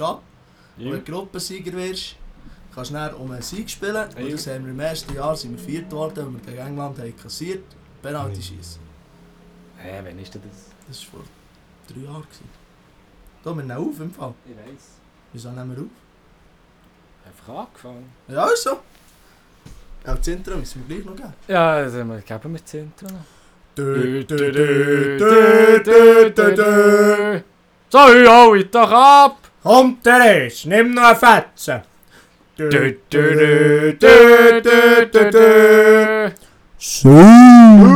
ab. Wenn du Gruppensieger wirst, kannst du dann um einen Sieg spielen. Und das haben wir im ersten Jahr sind wir viert geworden, weil wir gegen England haben kassiert. Penalty schießen. Hä, wann ist denn das? Das war vor drei Jahren. gewesen. Da, wir nehmen auf im Fall. Ich weiß. Wieso nehmen wir auf? Einfach angefangen. Ja, ist so. Auch das Intro müssen wir gleich noch geben. Ja, also wir geben wir das Intro noch. Dö, dö, dö, dö, dö, dö, dö. So, hau doch ab! Komm, Therese, nimm noch eine Fetze. Dö, Dö, dö, dö, dö, dö, dö, dö, dö. Uh,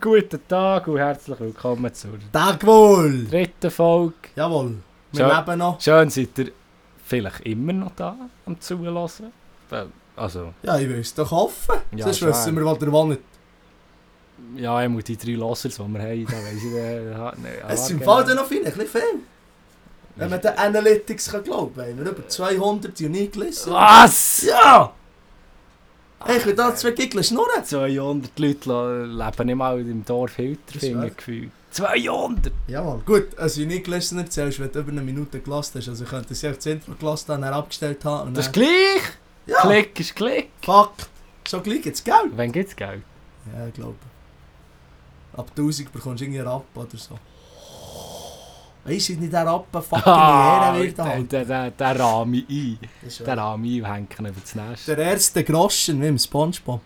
Guten Tag und herzlich willkommen zur Tag wohl. dritten Folge. Jawohl. Wir Ja. leben noch. Schön seid ihr vielleicht immer noch da am Zuhören. Weil, Also, Ja, ich will es doch hoffen. Ja, Sonst ist wissen wahr. wir, was der Mann nicht. ja, ich muss die drei Losers, die wir haben, da weiss ich äh, nicht. Es sind im Fall dann noch viele, ein bisschen viel. Wenn man den Analytics kann glauben kann, haben wir über 200 unique gelesen. Was? Ja! Hey, ich will da zwei Giggeln schnurren. 200 Leute la- leben nicht mal im Dorf Hilterfingen Das gefühlt. 200! Jawohl. Gut, ein unique listener zählst, wenn du über eine Minute gelassen hast. Also könnte sie auch das Intro gelassen haben, dann abgestellt haben. und Das ist dann- gleich! ja, Klick ist Klick! Fakt. So gleich jetzt, gell? Wann gibt's Geld? Ja, ich glaube. Ab 1000 bekommst du irgendeinen Rappen oder so. Weißt du, nicht der Rappen fucking ah, Ehre wird der, halt. der, der, der Rami ein. Das ist Der wahr. Rami ein hängen über das Nest. Der erste Groschen wie im Spongebob.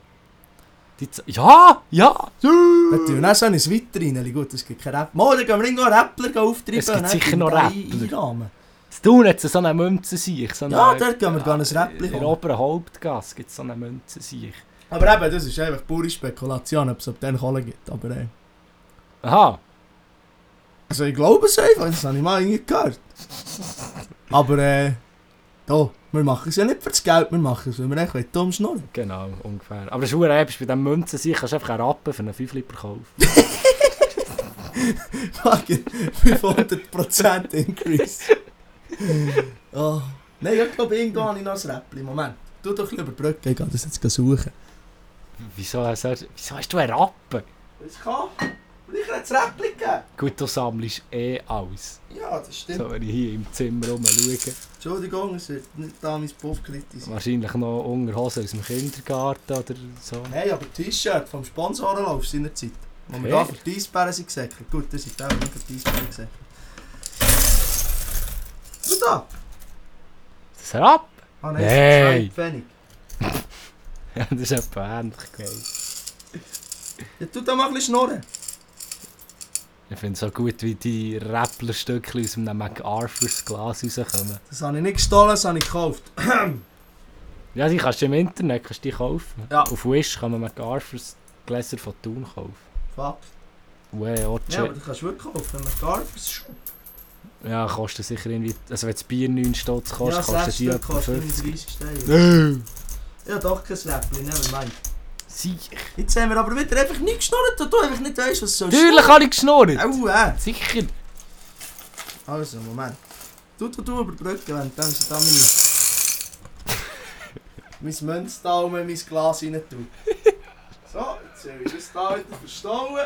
Die Z- ja! Ja! Natürlich, dann soll ich es weiter rein. Gut, es gibt keinen dus Rap. Mal, dann gehen wir irgendwo einen Rappler auftreiben. Es gibt und dann sicher gehen noch wir da Rappler. ein- einrahmen. Das tun jetzt so eine Münze sich. So Ja, eine- dort gehen wir gerne ein Räppli In der holen. oberen Hauptgasse gibt es so eine Münze sich. Aber eben, das ist einfach pure Spekulation, ob es ab den Kohle gibt. Aber ey. Aha! Also ich glaube es einfach, das habe ich mal irgendwie gehört. Aber äh, da, wir machen es ja nicht für das Geld, wir machen es, weil wir echt wollen, dumm schnurren. Genau, ungefähr. Aber das ist verdammt episch, bei diesem Münzen sich kannst du einfach einen Rappen für einen 5 Liter kaufen. 500% Increase. oh. Nein, ich glaube, irgendwo habe ich noch ein Räppli. Moment, tu doch lieber Brücke, ich gehe das jetzt suchen. Wieso hast du, wieso hast du einen Rappen? Es kann. Und ich hätte das Räppli gegeben. Gut, du sammelst eh alles. Ja, das stimmt. So, wenn ich hier im Zimmer rumschaue. Entschuldigung, es wird nicht da mein Puff kritisiert. Wahrscheinlich noch Unterhosen aus dem Kindergarten oder so. Nein, aber T-Shirt vom Sponsorenlauf seiner Zeit. Wo wir Fair. da für die Eisbären sind gesäckelt. Gut, das ist auch nicht für die Eisbären gesäckelt. Du da! Das ab! Ah Hey. zwei Pfennig. Ja, das ist etwa ähnlich gewesen. Ja, tu da mal ein bisschen schnurren. Ich finde es so gut, wie die Rapplerstückchen aus einem MacArthur's Glas rauskommen. Das habe ich nicht gestohlen, das habe ich gekauft. Ja, die kannst du im Internet kannst du die kaufen. Ja. Auf Wish kann man MacArthur's Gläser von Thun kaufen. Fuck. Ué, Ja, aber Otsche. du kannst wirklich kaufen. Ein Garfus Shop. Ja, kostet sicher irgendwie... Also wenn das Bier 9 Stutz Ja, kostet, kostet sechs die Stück etwa kostet 50. 35 Steine. Äh. Ja, doch kein Räppli, nevermind. Sicher. Jetzt haben wir aber wieder einfach nicht geschnurrt, weil du einfach nicht weißt, was so Natürlich habe ich geschnurrt. Au, äh. Sicher. Also, Moment. Du, du, du überbrücken, wenn dann sie da meine... mein Münztaumen in mein Glas rein tun. So, jetzt soll ich das da wieder verstauen.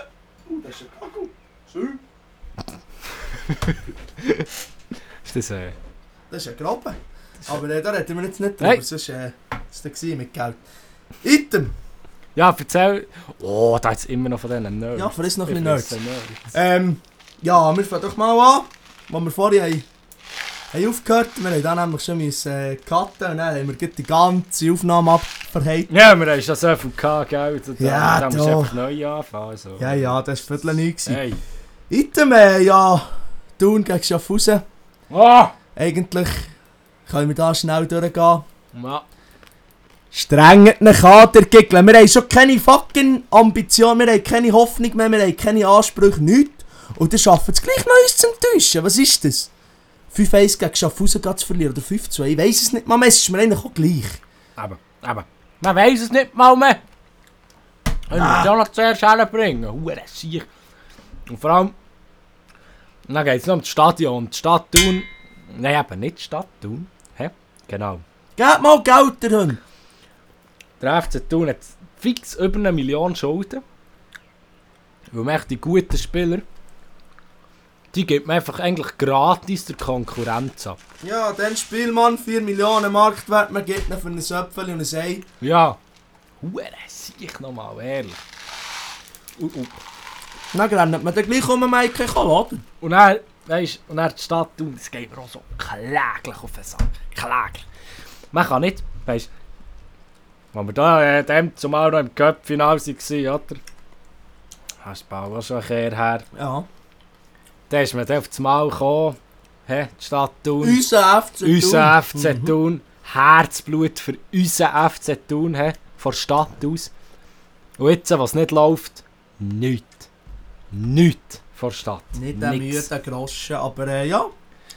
Uh, das ist ein Kackel. Schön. Ist das äh... Das ist ein Graben. Aber äh, da reden wir jetzt nicht drüber, Nein. sonst äh, ist das gewesen mit Geld. Item! Ja, erzähl... Oh, da hat es immer noch von diesen Nerds. Ja, für uns noch Ich ein bisschen fresse Nerds. Nerds. Ähm, ja, wir fangen doch mal an, wo wir vorhin haben, haben aufgehört Wir haben dann nämlich schon müssen, äh, cutten und dann haben wir gleich die ganze Aufnahme abverheilt. Ja, wir haben schon so viel gehabt, gell? Da, Ja, da musst du doch. einfach neu anfangen. Also. Ja, ja, das war viertel neu. Hey. Item, äh, ja, Thun gegen Schaffhausen. Oh! Eigentlich können wir da schnell durchgehen. Ja. Strengt den Kader gickeln. Wir haben schon keine fucking Ambition, wir haben keine Hoffnung mehr, wir haben keine Ansprüche, nichts. Und dann schaffen es gleich noch uns zu enttäuschen. Was ist das? 5-1 gegen Schaffhausen geht zu verlieren oder 5-2, ich weiss es nicht. Man, es ist mir eigentlich auch gleich. Aber, aber. Man weiß es nicht mal mehr. Und ah. muss auch noch zuerst herbringen. Hure sicher. Und vor allem. Dann geht es noch um das Stadion. Die Stadt Thun. Nein, eben nicht die Stadt Thun. Hä? Genau. Gebt mal Geld, der Hund. Der FC Thun hat fix über eine Million Schulden. Weil man echt die guten Spieler die gibt man einfach eigentlich gratis der Konkurrenz ab. Ja, dann Spielmann, 4 Millionen Marktwert, man gibt ihn für ein Söpfchen und ein Ei. Ja. Hure, ich nochmal, ehrlich. Uh, uh. Dann rennt man dann gleich um den Mike oder? Und dann, weisst, und dann die Stadt tun, das geht mir auch so kläglich auf den Sack. Kläglich. Man kann nicht, weisst, wenn wir da äh, dem zumal noch im Cup-Final waren, oder? Hast du auch schon ein Kehr her. Ja. Dann ist man dann auf das Mal gekommen, hä, die Stadt Thun, Unser FC Thun. Mhm. unser FC Thun, Herzblut für unser FC Thun, hä, von der Stadt aus. Und jetzt, was nicht läuft, nichts. Nichts von der Stadt. Nicht der Nichts. müde Groschen, aber äh, ja,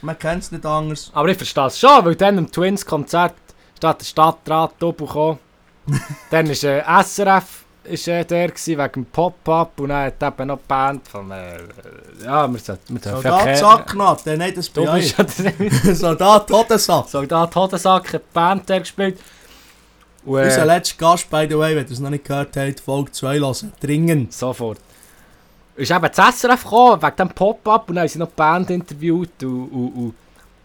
man kennt es nicht anders. Aber ich verstehe es schon, weil dann am Twins-Konzert statt der Stadtrat Doppel gekommen. dann war äh, SRF ist, äh, der gewesen, wegen dem Pop-Up und dann hat eben noch die Band von... Äh, ja, wir sollten... Wir dürfen Soldat keinen- Sacknaht, der nicht das Du bei euch. bist ja der Soldat Totensack. Soldat Hodensack, hat die Band der gespielt. Und, äh, Unser letzter Gast, by the way, wenn ihr es noch nicht gehört habt, Folge 2 hören. Dringend. Sofort. Ist eben das SRF gekommen, wegen dem Pop-Up und dann haben sie noch die Band interviewt und... und, und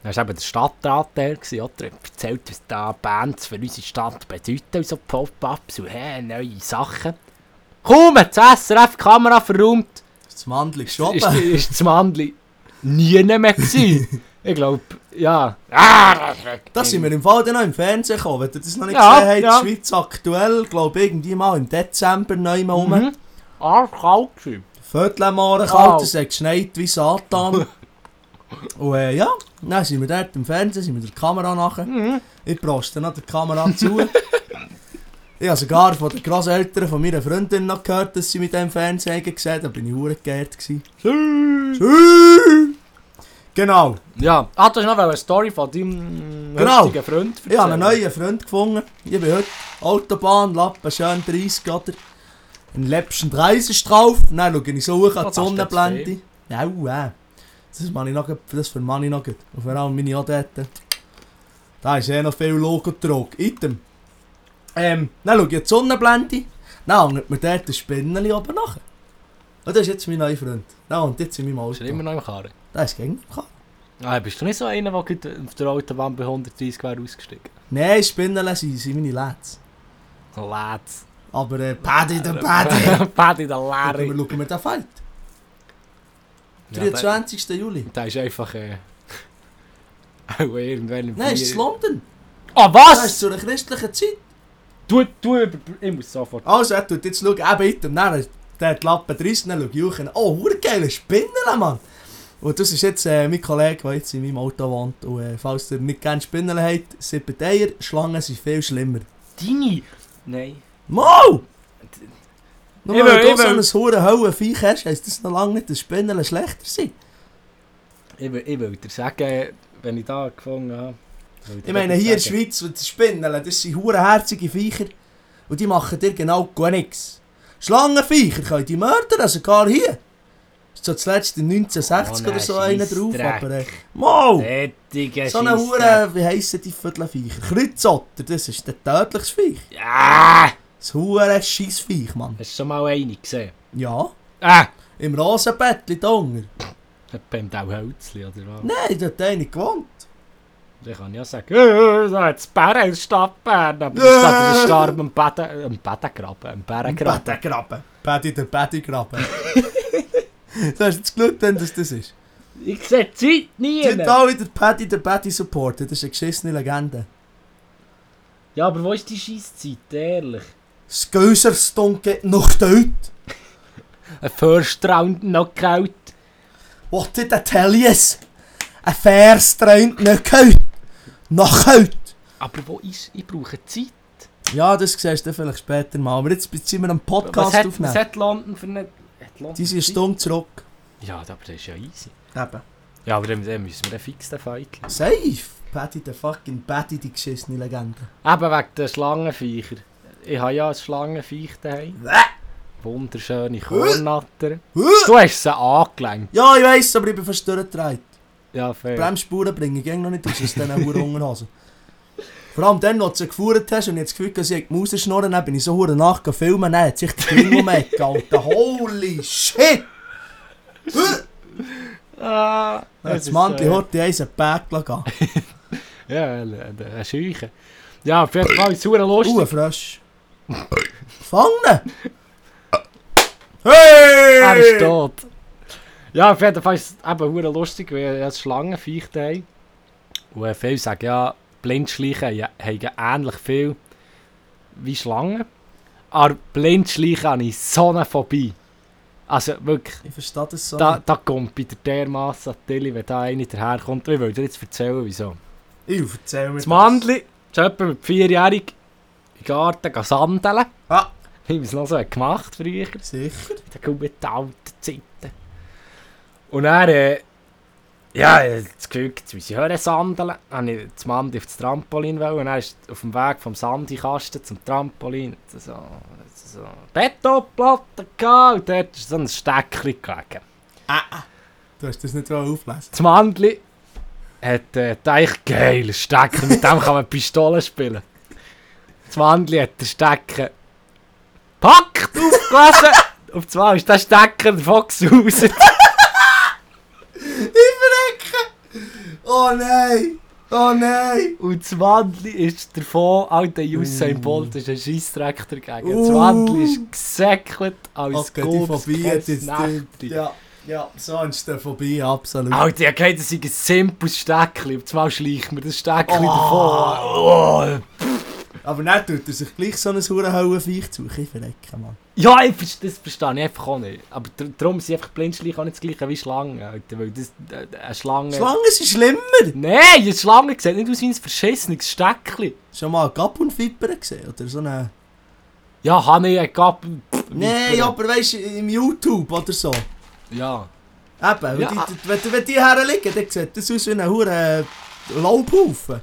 dann war eben der Stadtrat der, gewesen, oder? Er hat erzählt, was da Bands für unsere Stadt bedeuten, und so Pop-Ups und hey, neue Sachen. Kaum hat das SRF die Kamera verräumt, Das Mandel ist ist, geschoben. ist das Mandli nie mehr gewesen. Ich glaube, ja. Ah, Da sind wir im Fall dann noch im Fernsehen gekommen. Wenn ihr das noch nicht Ja, gesehen habt, ja. Schweiz aktuell, glaube ich, irgendwie mal im Dezember neu mal rum. Mhm. Arschkalt gewesen. Viertelmahre Wow. kalt, es hat geschneit wie Satan. Und äh, ja, dann sind wir dort im Fernsehen, sind wir der Kamera nachher. Ich proste noch der Kamera zu. ich habe sogar von den Großeltern von meiner Freundin noch gehört, dass sie mit dem Fernsehen gesehen haben. Da bin ich hure geehrt. gewesen. Tschüss. Genau. Ja, ah, du hast noch eine Story mm, von deinem Genau. heutigen Freund Ich habe einen erzählen. neuen Freund gefunden. Ich bin heute Autobahn, Lappen, schön 30, oder? Ein läppchen 30 drauf. Dann schaue ich so hoch an die Was hast du jetzt Sonnenblende. gesehen? Ja, wow. Das mag ich noch, gut- das vermag ich noch gut. Und vor allem meine Adette. Da ist eh noch viel Logotrog. Item. Ähm, dann schaue ich an die Sonnenblende. Dann hängt mir dort ein Spinneli oben nach. Und Ah, das ist jetzt mein neuer Freund. Der wohnt jetzt in meinem Ist er immer Auto. noch im Karren? Der ist gegen mich Ah, bist du nicht so einer, der gerade auf der Autobahn bei 130 wäre ausgestiegen? Nein, Spinneli sind sind meine Lads. Lads. Aber äh, Paddy der Paddy. Paddy der Schauen wir, Larry. schauen wir den Feld. Ja, 23. Juli. der- Der ist einfach... Äh, auch irgendwann im Nein, ist es Vier- London. Ah, Das ist was? zu einer christlichen Zeit. Du, du, über- ich muss sofort... Also, er tut jetzt schauen, eben item. Dann der hat die Lappen 30, dann schaue ich hoch. und- Oh, urgeile Spinnele, Mann. Und das ist jetzt äh, mein Kollege, der jetzt in meinem Auto wohnt. Und äh, falls ihr nicht gerne Spinnele habt, sieben Eier, Schlangen sind viel schlimmer. Dini! Nein. Mau! Nur Ich weil will- du so ich will- ein hohen Höllenviech hast, heisst das noch lange nicht, dass Spinnele schlechter sind. Ich, will- ich will dir sagen, wenn ich da gefangen habe... will dir Ich meine, hier in der sagen. Schweiz, die Spinnen, das sind hurenherzige Viecher. Und die nou machen dir genau gar nichts. Schlangenviecher können die mördern, sogar hier. Ist so zuletzt in 1960 Oh, oder so nein, einer scheissdreck. drauf, aber... Äh, Mau! Tätige So eine Scheissdreck. Hure, wie heissen die Viertelviecher? Kreuzotter, das ist der tödlichste Viech. Ja! Das hure Scheissviech, Mann. Hast du schon mal eine gesehen? Ja, Ah! im Rosenbettli da unten. Beim Dauhölzli, oder was? Nein, dort hat einer gewohnt. Da kann ich ja sagen, äh, da hat es Bären in der Stadt Bern, aber Äh. yeah. statt der Starb am Bäden, am Bädengraben, am Bärengraben. Bettengraben. Betty der Bettengraben. Du hast jetzt Glück, dann, dass das ist. Ich sehe die Zeit nie Sind alle der Paddy der Paddy Supporter, das ist eine geschissene Legende. Ja, aber wo ist die Scheisszeit, ehrlich? Das Göserston geht noch dort. Ein First Round Knockout. What did I tell you? Ein First Round Knockout. Knockout. Aber wo ist, ich brauche Zeit. Ja, dus das siehst du vielleicht später mal, aber jetzt sind wir am Was Podcast hat, was aufnehmen. hat London für eine... hat London Die sind eine Zeit? Stunde zurück. Ja, aber das ist ja easy. Eben. Ja, aber dann, dann müssen wir einen fixen Fight. Safe. Paddy der fucking Paddy, die geschissene Legende. Eben wegen der Schlangenviecher. Ich habe ja ein Schlangenviech daheim. Bäh. Wunderschöne Kornatter. Huh! Du hast sie angelenkt. Ja, ich weiss, aber ich bin verstört gedreht. Ja, fair. Bremsspuren bringen ging noch nicht aus aus diesen Huren Unterhosen. Vor allem dann, als du sie gefahren hast und ich das Gefühl hatte, sie hat die Maus schnurren, dann bin ich so Huren nachgefilmen, dann hat sich der Film umgegangen. Alter, holy shit! Ah, Das Mantel hat die eins ein Päckchen gegeben. Ja, een een Scheuche. Ja, auf jeden Fall ist es super lustig. Uh, ein Frosch. Fangen! Hey! Er ist tot. Ja, auf jeden Fall ist es eben hure lustig, weil ja Schlangenviech da haben. Und äh, viele sagen ja, Blindschleichen ja- haben ähnlich viel wie Schlangen. Aber Blindschleichen habe ich so eine Phobie. Also wirklich, Ich verstehe das so. da, nicht. da kommt bei der dermassen Tilly, wenn da einer daherkommt. Ich will dir jetzt erzählen, wieso. Ich erzähl mir Das Mandli, ist jemand mit vierjährig im Garten gehen sandeln. Ah. Wie man es noch so hat gemacht früher. das. Sicher. Der gute alte Zeiten. Und dann, äh, ja, ich hab das Gefühl, jetzt müssen wir hören sandeln. Dann wollte ich das Mandi auf das Trampolin wollen. und er ist auf dem Weg vom Sandikasten zum Trampolin hat er so, hat er so Betonplatte gehabt und dort ist so ein Steckchen gelegen. Du hast das nicht wollen auflesen. Das Mandli hat äh, gedacht, geil, ein Stecken, mit dem kann man Pistolen spielen. Das Mandli hat den Stecken gepackt, aufgelesen. Auf zwei ist der Stecker der Fox raus. Ich verrecke! Oh nein! Oh nein! Und das Wandli ist davon, Alter Usain Bolt ist ein Scheissdreck dagegen. Das Uh. Wandli ist gesäckelt als Okay, die Phobie hat jetzt die- Gubskostnächtli. Ja, ja, so ist der Phobie, absolut. Alter, ich hätte das sei ein simples Steckli. Und zwar schleicht mir das Steckli Oh. davon. Oh. Aber dann tut er sich gleich so ein Hurenhauenviech zu. Ich verrecke, Mann. Ja, ich, ver- das verstehe ich einfach auch nicht. Aber dr- darum sind einfach Blindschleichen auch nicht das gleiche wie Schlangen, Alter. Weil das, äh, eine Schlange... Schlangen sind schlimmer! Nein, eine Schlange sieht nicht aus wie ein verschissenes Steckli. Schon mal Gabunfipper gesehen? Oder so eine... Ja, habe ich einen Gab... Nein, aber weißt du, im YouTube oder so. Eben, Ja. wenn, Ja. die, die- wenn, die- wenn die herliegen, dann sieht das aus wie ein Huren... Laubhaufen.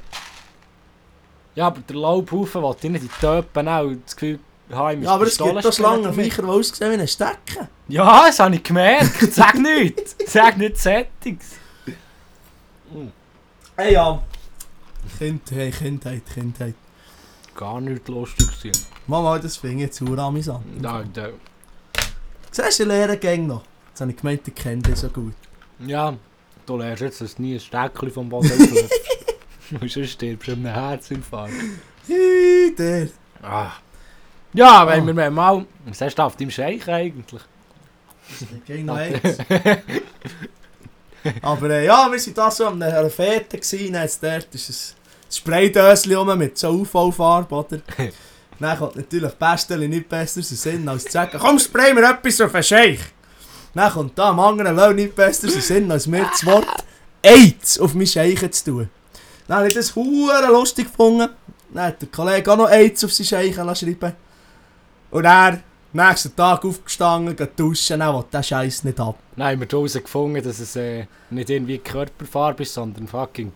Ja, aber der Laubhaufen will ich nicht in die Töpen auch das Gefühl haben, ich muss Ja, aber es Pistolen gibt auch spielen damit. Schlangenviecher, die aussehen wie ein Stecken. Ja, das habe ich gemerkt. Sag nichts. Sag nicht Settings. Ey, ja. Kind, hey, Kindheit, Kindheit. Gar nicht lustig gewesen. Mama, das finde ich jetzt uramüsant. Da, da. Siehst du, ich lehre gerne noch. Jetzt habe ich gemeint, ich kenne dich so gut. Ja, du lernst jetzt, dass nie ein Steckchen vom Boden auflöst. Und sonst stirbst du an einem Herzinfarkt. Hi, der. Ah. Ja, wenn Ah. wir mal... Was hast du auf deinem Scheich eigentlich? Ging noch eins. Aber äh, ja, wir waren da so an einer Fete gewesen, dann ist dort ist es das Spraydöschen rum mit so UV-Farbe, oder? dann kommt natürlich Pestel nicht besser in den Sinn, als zu sagen, komm, spray mir etwas auf den Scheich. Dann kommt da am anderen Lau nicht besser in den Sinn, als mir das Wort AIDS auf meinen Scheich zu tun. Dann habe ich das hure lustig gefunden. Dann hat der Kollege auch noch AIDS auf seinen Scheich lassen schreiben Und er Nächsten Tag aufgestanden, geht duschen, dann will der Scheiß nicht ab. Nein, wir haben herausgefunden, dass es äh, nicht irgendwie Körperfarbe ist, sondern fucking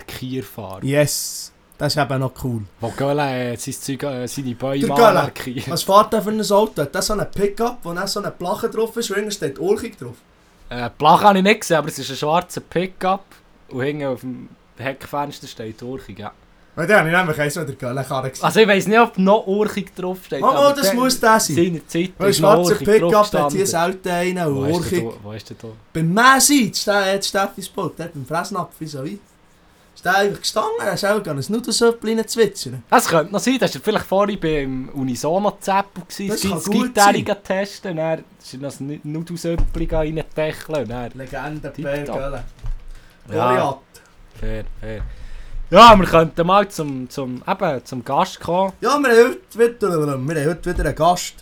Baumarkierfarbe. Yes, das ist eben noch cool. Wo Göhle äh, sein Zeug, äh, seine Bäume Der Göhle. anmarkiert. Was fährt der für ein Auto? Hat der so einen Pickup, wo dann so eine Plache drauf ist, und hinten steht Ulkig drauf? Äh, Plach habe ich nicht gesehen, aber es ist ein schwarzer Pickup. Und hinten auf dem Heckfenster steht Urchig, ja. Weil der habe ich nämlich eins, wo der Göllenkarre gesehen Also ich weiss nicht, ob noch Urchig draufsteht. Mama, Oh, das muss der sein. Seine Zeit Weil ein ist noch schwarzer Urchig Pickup hat draufgestanden. hier selten einen und Wo ist der Urkig. da- Wo ist der da? Beim Messi, der Steffisburg, der beim Fressnapf, wieso ich? Ist der einfach gestanden, er ist auch gegangen, ein Nudelsöppel reinzwitschern. Das könnte noch sein, das war vielleicht vorhin beim Unisono-Zeppel. Das gewesen. kann Das gut Gitarre sein. testen, dann ist er noch ein Nudelsöppel reintecheln. und dann- Legende, Per Tipptopp. Göllen. Oh Ja, Goliath. fair, fair. Ja, wir könnten mal zum, zum, eben, zum Gast kommen. Ja, wir haben heute wieder, wir haben heute wieder einen Gast.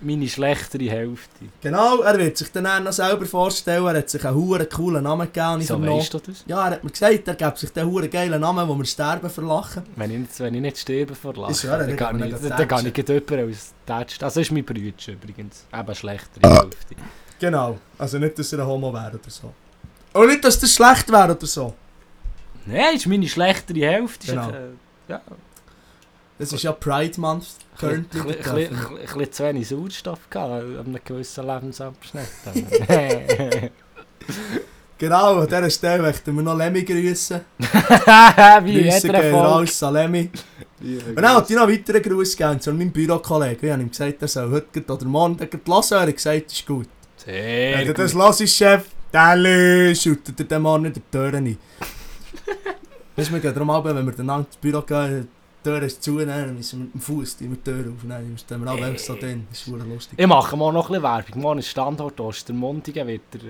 Meine schlechtere Hälfte. Genau, er wird sich dann auch noch selber vorstellen, er hat sich einen huren coolen Namen gegeben. und ich Wieso vernommen- weißt du das? Ja, er hat mir gesagt, er gibt sich den huren geilen Namen, wo wir sterben verlachen. Wenn ich nicht, wenn ich nicht sterbe vor Lachen, Ist ja, dann dann, kann man kann ich, nicht dann kann tätschen. ich nicht jemanden als Tätsch. Das ist mein Brütsch übrigens. Eben schlechtere Hälfte. Genau, also nicht, dass er ein Homo wäre oder so. Und nicht, dass das schlecht wäre oder so. Nein, ist meine schlechtere Hälfte. Genau. Ist, äh, ja, Es ist ja Pride Month, ein currently. bisschen- wir dürfen. bisschen- bisschen zu wenig Sauerstoff gehabt, an einem gewissen Lebensabschnitt. Wie Genau, an dieser Stelle möchten wir noch Lemmy grüßen. Grüße jeder gehen Folge. raus an Lemmy. Und dann wollte ich noch einen weiteren Gruß geben zu meinem Bürokollegen. Ich habe ihm gesagt, er soll heute oder morgen gleich hören. Er hat gesagt, ist gut. Sehr Wenn du gut. das hörst, Chef, Deli, schüttet ihr dem Mann nicht die Türen ein. Weißt du, wir gehen darum ab, wenn wir dann ins Büro gehen, die Tür ist zu, dann müssen wir mit dem Fuß die Tür auf. Dann stehen wir ab, wenn so drin ist. Das ist lustig. Ich mache mal noch ein bisschen Werbung. Morgen ist Standort Ostermundigen. Wird der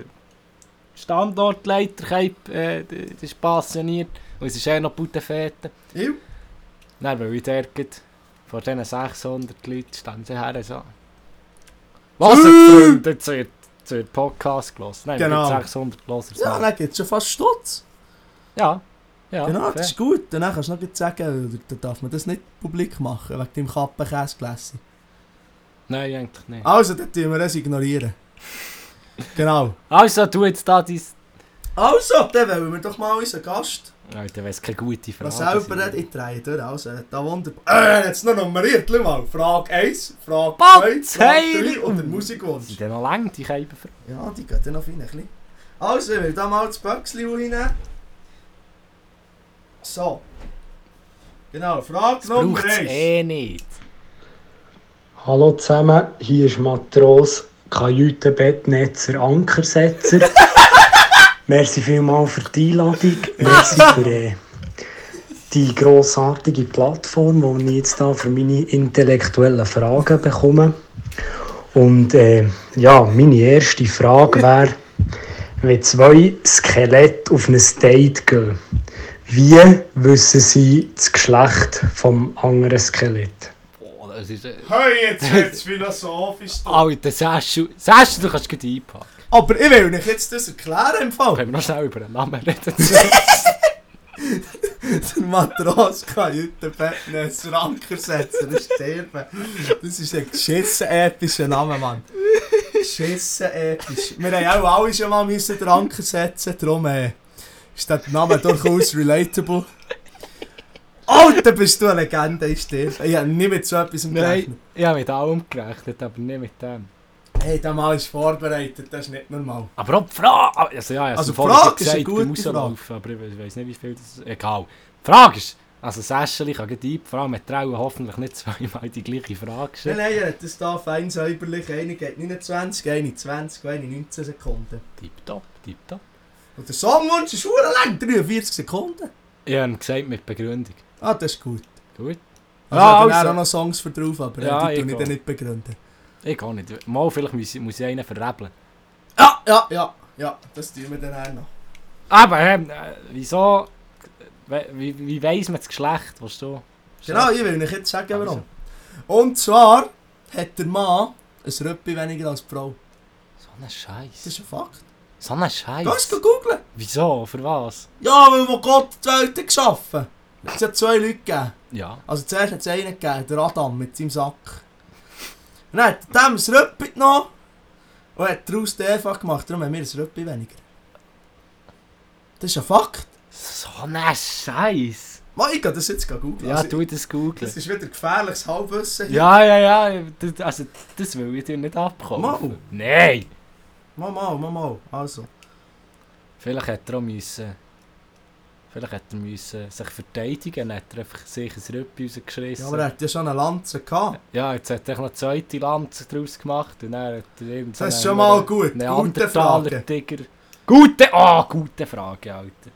Standortleiter Keip, äh, der- der ist passioniert. Und es ist eh noch Buttenfete. Ew. Dann, weil ich dort grad vor diesen 600 Leuten stand ich her und so. Was Äh! Freunde, jetzt wird, jetzt wird Podcast gelassen. Nein, Genau. genau. 600 los. Ja, dann gibt es schon fast Stutz. ja. Ja, genau, fair. das ist gut. Dann kannst du noch gleich sagen, oder- dann darf man das nicht publik machen, wegen deinem Kappenkäsegläschen. Nein, eigentlich nicht. Also, dann tun wir das ignorieren. genau. Also, du jetzt da dein... Also, dann wollen wir doch mal unseren Gast. Alter, wär's keine gute Frage. Der selber nicht in die Reihe durch. Also, da wunderbar. Äh, jetzt noch nummeriert, schau mal. Frage 1, Frage Gott 2, Frage 3 sei- und der Sind Musikwunsch. denn noch lang, die Keibenfrage? Ja, die geht dann noch fein. ein bisschen. Also, ich will da mal das Böckchen rein. So. Genau, Frage Nummer Braucht's 1. eh nicht. Hallo zusammen, hier ist Matros, Kajütenbettnetzer, Ankersetzer. Merci vielmals für die Einladung. Merci für äh, die grossartige Plattform, die ich jetzt da für meine intellektuellen Fragen bekomme. Und äh, ja, meine erste Frage wäre, wenn zwei Skelette auf ein Date gehen, wie wissen sie das Geschlecht vom anderen Skelett? Boah, das ist... Äh... Hey, jetzt wird's philosophisch. Alter, Saschu... Saschu, du kannst gut einpacken. Aber ich will euch jetzt das erklären im Fall. Können wir noch schnell über den Namen reden? Der Matros kann heute Bettnässer Anker setzen und sterben. Das ist ein geschissen epischer Name, Mann. Geschissen episch. Wir haben auch alle schon mal müssen den Anker setzen, darum äh, ist der Name durchaus relatable. Alter, bist du eine Legende, ich sterbe. Ich habe nie mit so etwas gerechnet. Nein, ich habe mit allem gerechnet, aber nicht mit dem. Hey, der Mann ist vorbereitet, das ist nicht normal. Aber auch die Frage... Also ja, ich ah, Also, die vorher Frage ist gesagt, eine gute beim Rauslaufen, aber ich we- weiss nicht, wie viel das... Egal. Die Frage ist... Also Saschu, ich kann gut einpacken, vor allem mit Trauen hoffentlich nicht zweimal die gleiche Frage Nein, stellen. nein, er hat das da fein säuberlich. Eine geht 29, eine 20, eine 19 Sekunden. Tipptopp, tipptopp. Und der Songwunsch ist verdammt lang, 43 Sekunden. Ich habe ihm gesagt, mit Begründung. Ah, das ist gut. Gut. Also, Ja, ja, also. also. auch noch Songs für drauf, aber Ja, die ich tun ich auch. dann nicht begründen. Ich kann nicht. Mal vielleicht muss, muss ich einen verrebeln. Ja, ja, ja, ja, das tun wir dann auch noch. Aber ähm, äh, wieso? Wie, wie, wie weiss man das Geschlecht, was du? Genau, ich will euch jetzt sagen, warum. Und zwar hat der Mann ein Röppi weniger als die Frau. So ein Das Scheiß. ist ein Fakt. So ein Du hast Scheiß. googeln. Wieso? Für was? Ja, weil wo Gott die Welt hat geschaffen hat. Es hat zwei Leute gegeben. Ja. Also zuerst hat es einen gegeben, der Adam mit seinem Sack. Und dann hat er dem ein Röppi genommen und hat daraus die Eva gemacht. Darum haben wir ein Röppi weniger. Das ist ein Fakt. So ein Scheiß. Mann, ich gehe das jetzt googeln. Ja, Also, tu das googeln. Das ist wieder gefährliches Halbwissen. hier. Ja, ja, ja. das- Also, das will ich dir nicht abkommen. Mau. Nein. Mal, mal, mal, mal. Also. Vielleicht hätte er auch müssen. Vielleicht hätte er müssen sich verteidigen. Dann hat er einfach sich ein Rüppchen rausgeschissen. Ja, aber er hat ja schon eine Lanze gehabt. Ja, jetzt hat er noch eine zweite Lanze draus gemacht und dann hat er eben Das ist schon mal gut. Gute Frage. Tiger. Gute, ah, gute Frage, Alter.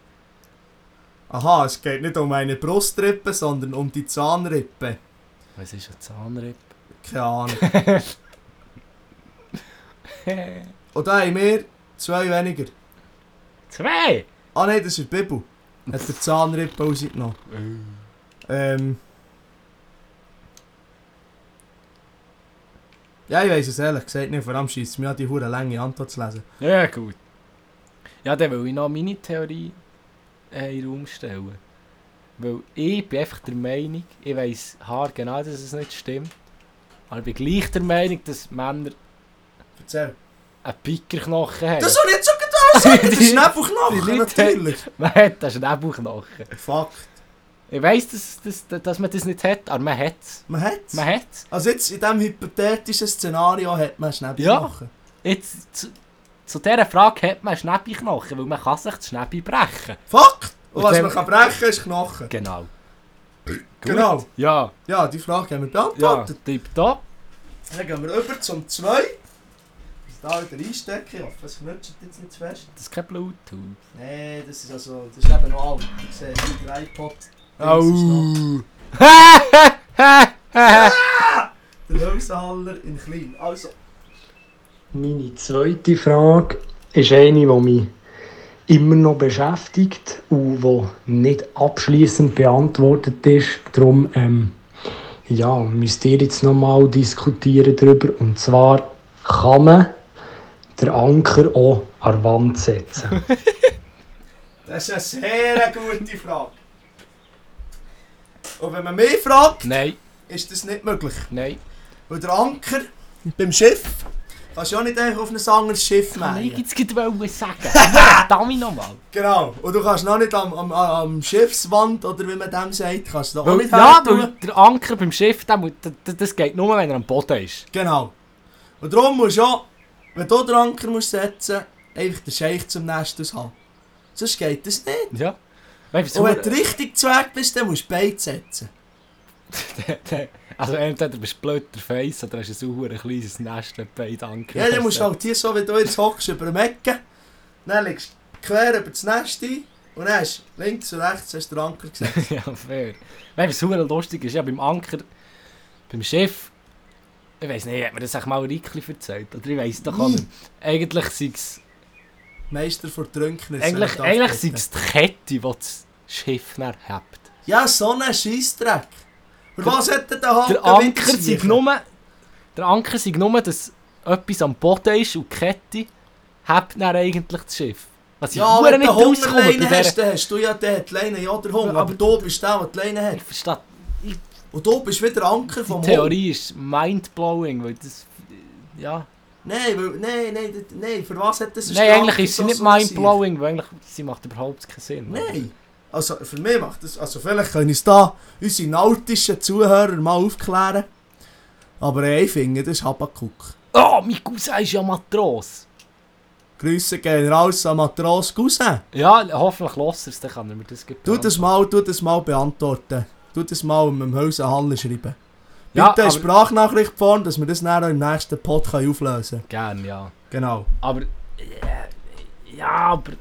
Aha, es geht nicht um eine Brustrippe, sondern um die Zahnrippe. Was ist ein Zahnrippe? Keine Ahnung. Und da haben wir zwei weniger. Zwei! Ah nein, das ist die Bibel. Hat der Zahnrippe rausgenommen. Eh. Ähm. Ja, ich weiß es ehrlich gesagt nicht. Vor allem scheisst es mir an, die hure lange Antwort zu lesen. Ja, gut. Ja, dann will ich noch meine Theorie äh, in den Raum stellen. Weil ich bin einfach der Meinung, ich weiss haargenau, dass es nicht stimmt. Aber ich bin gleich der Meinung, dass Männer Erzähl. einen Pikerknochen haben. Das soll ich jetzt schon genau sagen. Das ist Die Schnäppelknochen, Leute- natürlich. Man hat einen Schnäbelknochen. Fuck. Ich weiss, dass, dass, dass man das nicht hat, aber man hat es. Man hat's. Man hat es. Also jetzt in diesem hypothetischen Szenario hat man Schnäppelknochen. Jetzt, zu, zu dieser Frage hat man einen Schnäppiknochen, weil man kann sich das Schnäppi brechen Fuck. Und Und was dann- man kann brechen ist Knochen. Genau. Genau. Ja, Ja, die Frage haben wir ja, beantwortet. tipptopp. Dann gehen wir über zum 2. da wieder einstecken. Ich hoffe, es knutscht jetzt nicht zu fest. Das ist kein Bluetooth. Nee, das ist also, das ist eben noch alt. Ich sehe, die drei iPod. Au! Der Hölsenhaller in klein. Also, Meine zweite Frage ist eine, die mich immer noch beschäftigt und die nicht abschließend beantwortet ist. Darum ähm, ja, müsst ihr jetzt nochmal diskutieren darüber. Und zwar kann man den Anker auch an die Wand setzen. das ist eine sehr gute Frage. Und wenn man mich fragt, Nein, ist das nicht möglich. nein. Weil der Anker beim Schiff kannst du ja nicht einfach auf ein anderes Schiff Ich machen. jetzt gerade sagen. Verdammt nochmal. Genau. Und du kannst noch nicht am, am, am Schiffswand oder wie man dem sagt, kannst du da auch Weil, nicht Oh, ja, her tun. weil der Anker beim Schiff, der muss, d- d- das geht nur, wenn er am Boden ist. Genau. Und darum musst du ja, wenn du den Anker musst setzen musst, einfach den Scheich zum Nest haben. Sonst geht das nicht. Ja. Weißt du, Und wenn du so- richtig Zwerg bist, dann musst du beide setzen. also entweder bist du blöd der Face oder hast du so ein kleines Nest mit beiden Anker. Ja, dann musst du halt hier so, wie du jetzt hockst, über den Mecken. Dann legst du quer über das Nest ein. Und dann hast du links und rechts hast du den Anker gesetzt. ja, fair. Weißt du, was verdammt lustig ist? Ja, beim Anker, beim Schiff, ich weiß nicht, hat mir das eigentlich mal Rickli erzählt? Oder ich weiß doch auch nicht. Eigentlich sei es, Meister vor Trünknis. eigentlich, eigentlich sei es die Kette, die das Schiff dann hebt. Ja, so ein Scheissdreck. Für was hat er den Haken Der Anker sei mitgeschlichen? nur, der Anker sei nur, dass etwas am Boden ist und die Kette hebt dann eigentlich das Schiff. Was ich Ja, verdammt wenn nicht du rauskomme bei Hungerleine hast, dieser... dann hast du ja der hat die Leine, ja der Hunger. Ja, Aber aber- du bist der, der die Leine hat. Ich verstehe Und du bist wieder Anker vom Die Hund. Theorie ist mindblowing, weil das. Ja. Nein, weil, nein, nein, das- nein, für was hat das ein Nein, eigentlich Strafe, ist sie so nicht zu sein? mindblowing, weil eigentlich, sie macht überhaupt keinen Sinn. Nein. Also für mich macht das, also vielleicht können uns da unsere nautischen Zuhörer mal aufklären. Aber ey, ich finde, das ist Habakuk. Oh, mein Cousin ist ja Matros. Grüße gehen raus an Matros Cousin. Ja, hoffentlich lässt er es, dann kann er mir das geben. Tu das mal, tu das mal beantworten. Tu das mal mit dem Hölsenhalle schreiben. Ja, Bitte eine aber- Sprachnachricht vorn, dass wir das dann auch im nächsten Pod können auflösen Gern, ja. Genau. Aber. äh, Ja, aber.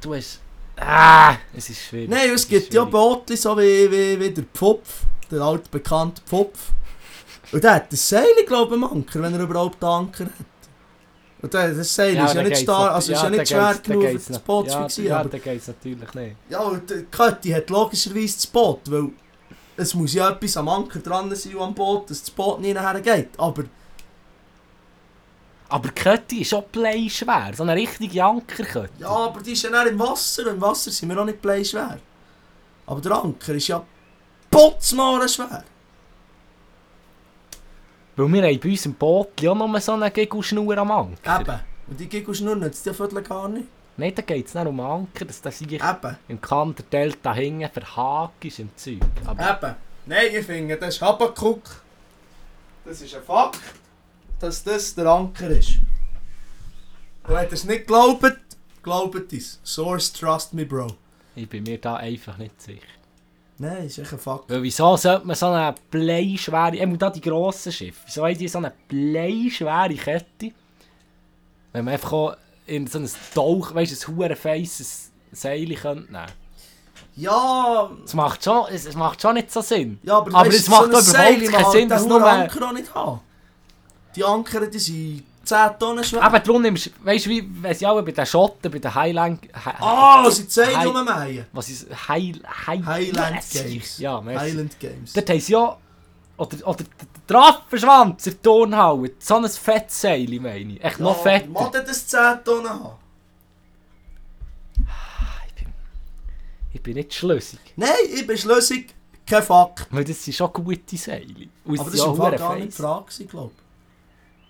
Du hast. Ah, es ist schwierig. Nein, es gibt ja Botli, so wie, wie, wie der Pfupf, der alte bekannte Pfupf. Und der hat das Seil, glaube ich, am Anker, wenn er überhaupt einen Anker hat. Und der, das Seil ist ja dann nicht geht's stark, nat- also ist ja dann nicht schwer geht's- dann genug, um geht's das nat- Boot zu ja, fixieren. Ja, aber- dann geht es natürlich nicht. Ja, und die Kötti hat logischerweise das Boot, weil es muss ja etwas am Anker dran sein und am Boot, dass das Boot nie nachher geht. Aber Aber Kötti ist auch bleischwer. So eine richtige Ankerkötti. ja, aber die ist ja dann im Wasser und im Wasser sind wir auch nicht blei schwer. Aber der Anker ist ja potzmaren schwer. Weil wir haben bei uns im Boot ja nur so einen Gegelschnur am Anker. Eben. Und die Gigelschnur nützt ja viertel gar nicht. Nein, da geht es nicht um Anker, dass das sich Eben. im Kanter Delta hängen verhakt ist im Zeug. Aber Eben. Nein, ich finde, das ist Habakuk. Das ist ein Fakt, dass das der Anker ist. Und wenn ihr es nicht glaubt, glaubt es. Source, trust me, bro. ich bin mir da einfach nicht sicher. Nein, ist echt ein Fakt. Weil wieso sollte man so eine bleischwere, eben da die grossen Schiffe, wieso haben die so eine bleischwere Kette, wenn man einfach auch in so ein Tauch, weißt du, ein hure feisses Seil könnte nehmen. Ja, Das macht schon, es, es macht schon nicht so Sinn. ja aber, aber weisst, es macht ein doch überhaupt Seil, man keinen kann Sinn, den dass verdammten nur... Anker auch nicht haben. Die Anker, die sind 10 Tonnen schwer. Eben, darum nimmst du, weißt du, wie, weiss ich auch, bei den Schotten, bei den Highland... Hi- Ah, oh, sie zeigen Hi- rummeien. Was ist Heil, Heil, Highland Yes, Games. Ja, merci. Highland Games. Dort haben sie ja... Oder, oder der Drachenschwanz in der Turnhalle. So ein Fettseil, meine ich. Echt noch Ja, fett. Mag er das 10 Tonnen haben? Ich bin, ich bin nicht schlüssig. Nein, ich bin schlüssig. Kein Fakt. Weil das sind schon gute Seile. Und Aber sie das war sind im auch Fall gar nicht die fest. Frage, glaube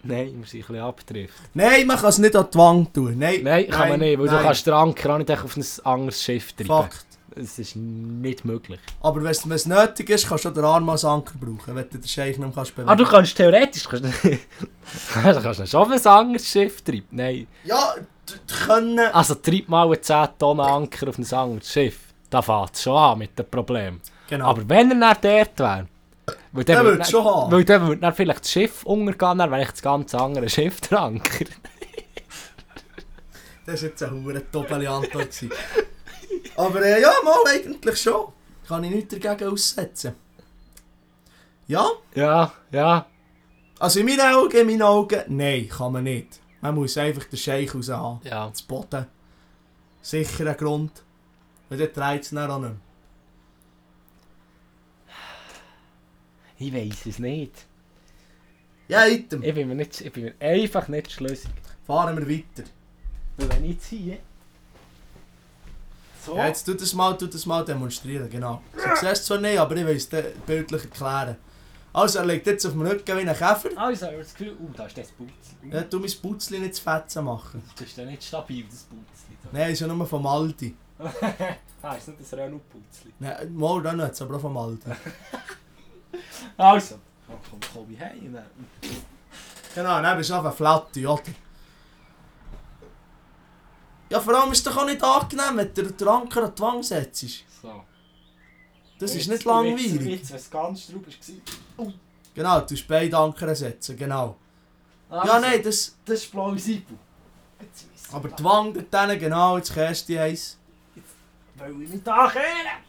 Nein, wir sind ein bisschen abgetrifft. Nein, man kann es nicht an die Wand tun. Nein, Nein, kann man nicht, weil nein. du kannst den Anker auch nicht echt auf ein anderes Schiff treiben. Fakt. Es ist nicht möglich. Aber wenn es- wenn es nötig ist, kannst du auch den Arm als Anker brauchen, wenn du den Scheich nicht mehr kannst bewegen Ah, du kannst theoretisch... Kannst, du kannst nicht schon auf ein anderes Schiff treiben. Nein. Ja, d- d- eh, können. Also treib mal einen 10 Tonnen Anker auf ein anderes Schiff. Da fängt es schon an mit dem Problem. Genau. Aber wenn er nicht dort wäre, Weil dann Den würde würdest dann- du schon haben. Weil dann würde dann vielleicht das Schiff untergehen, dann wäre ich das ganze andere Schiff dranker. Das war jetzt ein hoher Tobeli Antwort. gewesen. Aber äh, ja, mal eigentlich schon. Kann ich nichts dagegen aussetzen. Ja, Ja, ja. also in meinen Augen, in meinen Augen, nein, kann man nicht. Man muss einfach den Scheich raus haben. Ja. Das Boden. Sicherer Grund. Weil der dreht es dann auch nicht mehr. Ich weiß es nicht. Ja, item. Ich bin mir, nicht, ich bin mir einfach nicht schlüssig. Fahren wir weiter. Weil wenn ich ziehe. So. Ja, jetzt tu das mal, tu das mal demonstrieren, genau. So siehst du zwar nicht, aber ich will es dir bildlich erklären. Also, er liegt jetzt auf dem Rücken wie ein Käfer. Also, ich habe das Gefühl, oh, da ist das Putzli. Ja, tu mein Putzli nicht zu fetzen machen. Das ist ja nicht stabil, das Putzli. Nein, ist ja nur vom Aldi. Ah, ist nicht das Renault-Putzli. Nein, mal dann nicht, aber auch vom Aldi. Also. Komm, komm, komm ich heim. ne? Genau, dann bist du einfach Flatte, oder? Ja, vor allem ist es doch auch nicht angenehm, wenn du den Anker an die Wange setzt. So. Das ist nicht langweilig. Jetzt, wenn es ganz drauf war. Genau, du musst beide Anker setzen, genau. Ja, nein, das... Das ist plausibel. Jetzt müssen Aber die Wange dort hinten, genau, jetzt kehrst du die eins. Weil ich mich da kehren.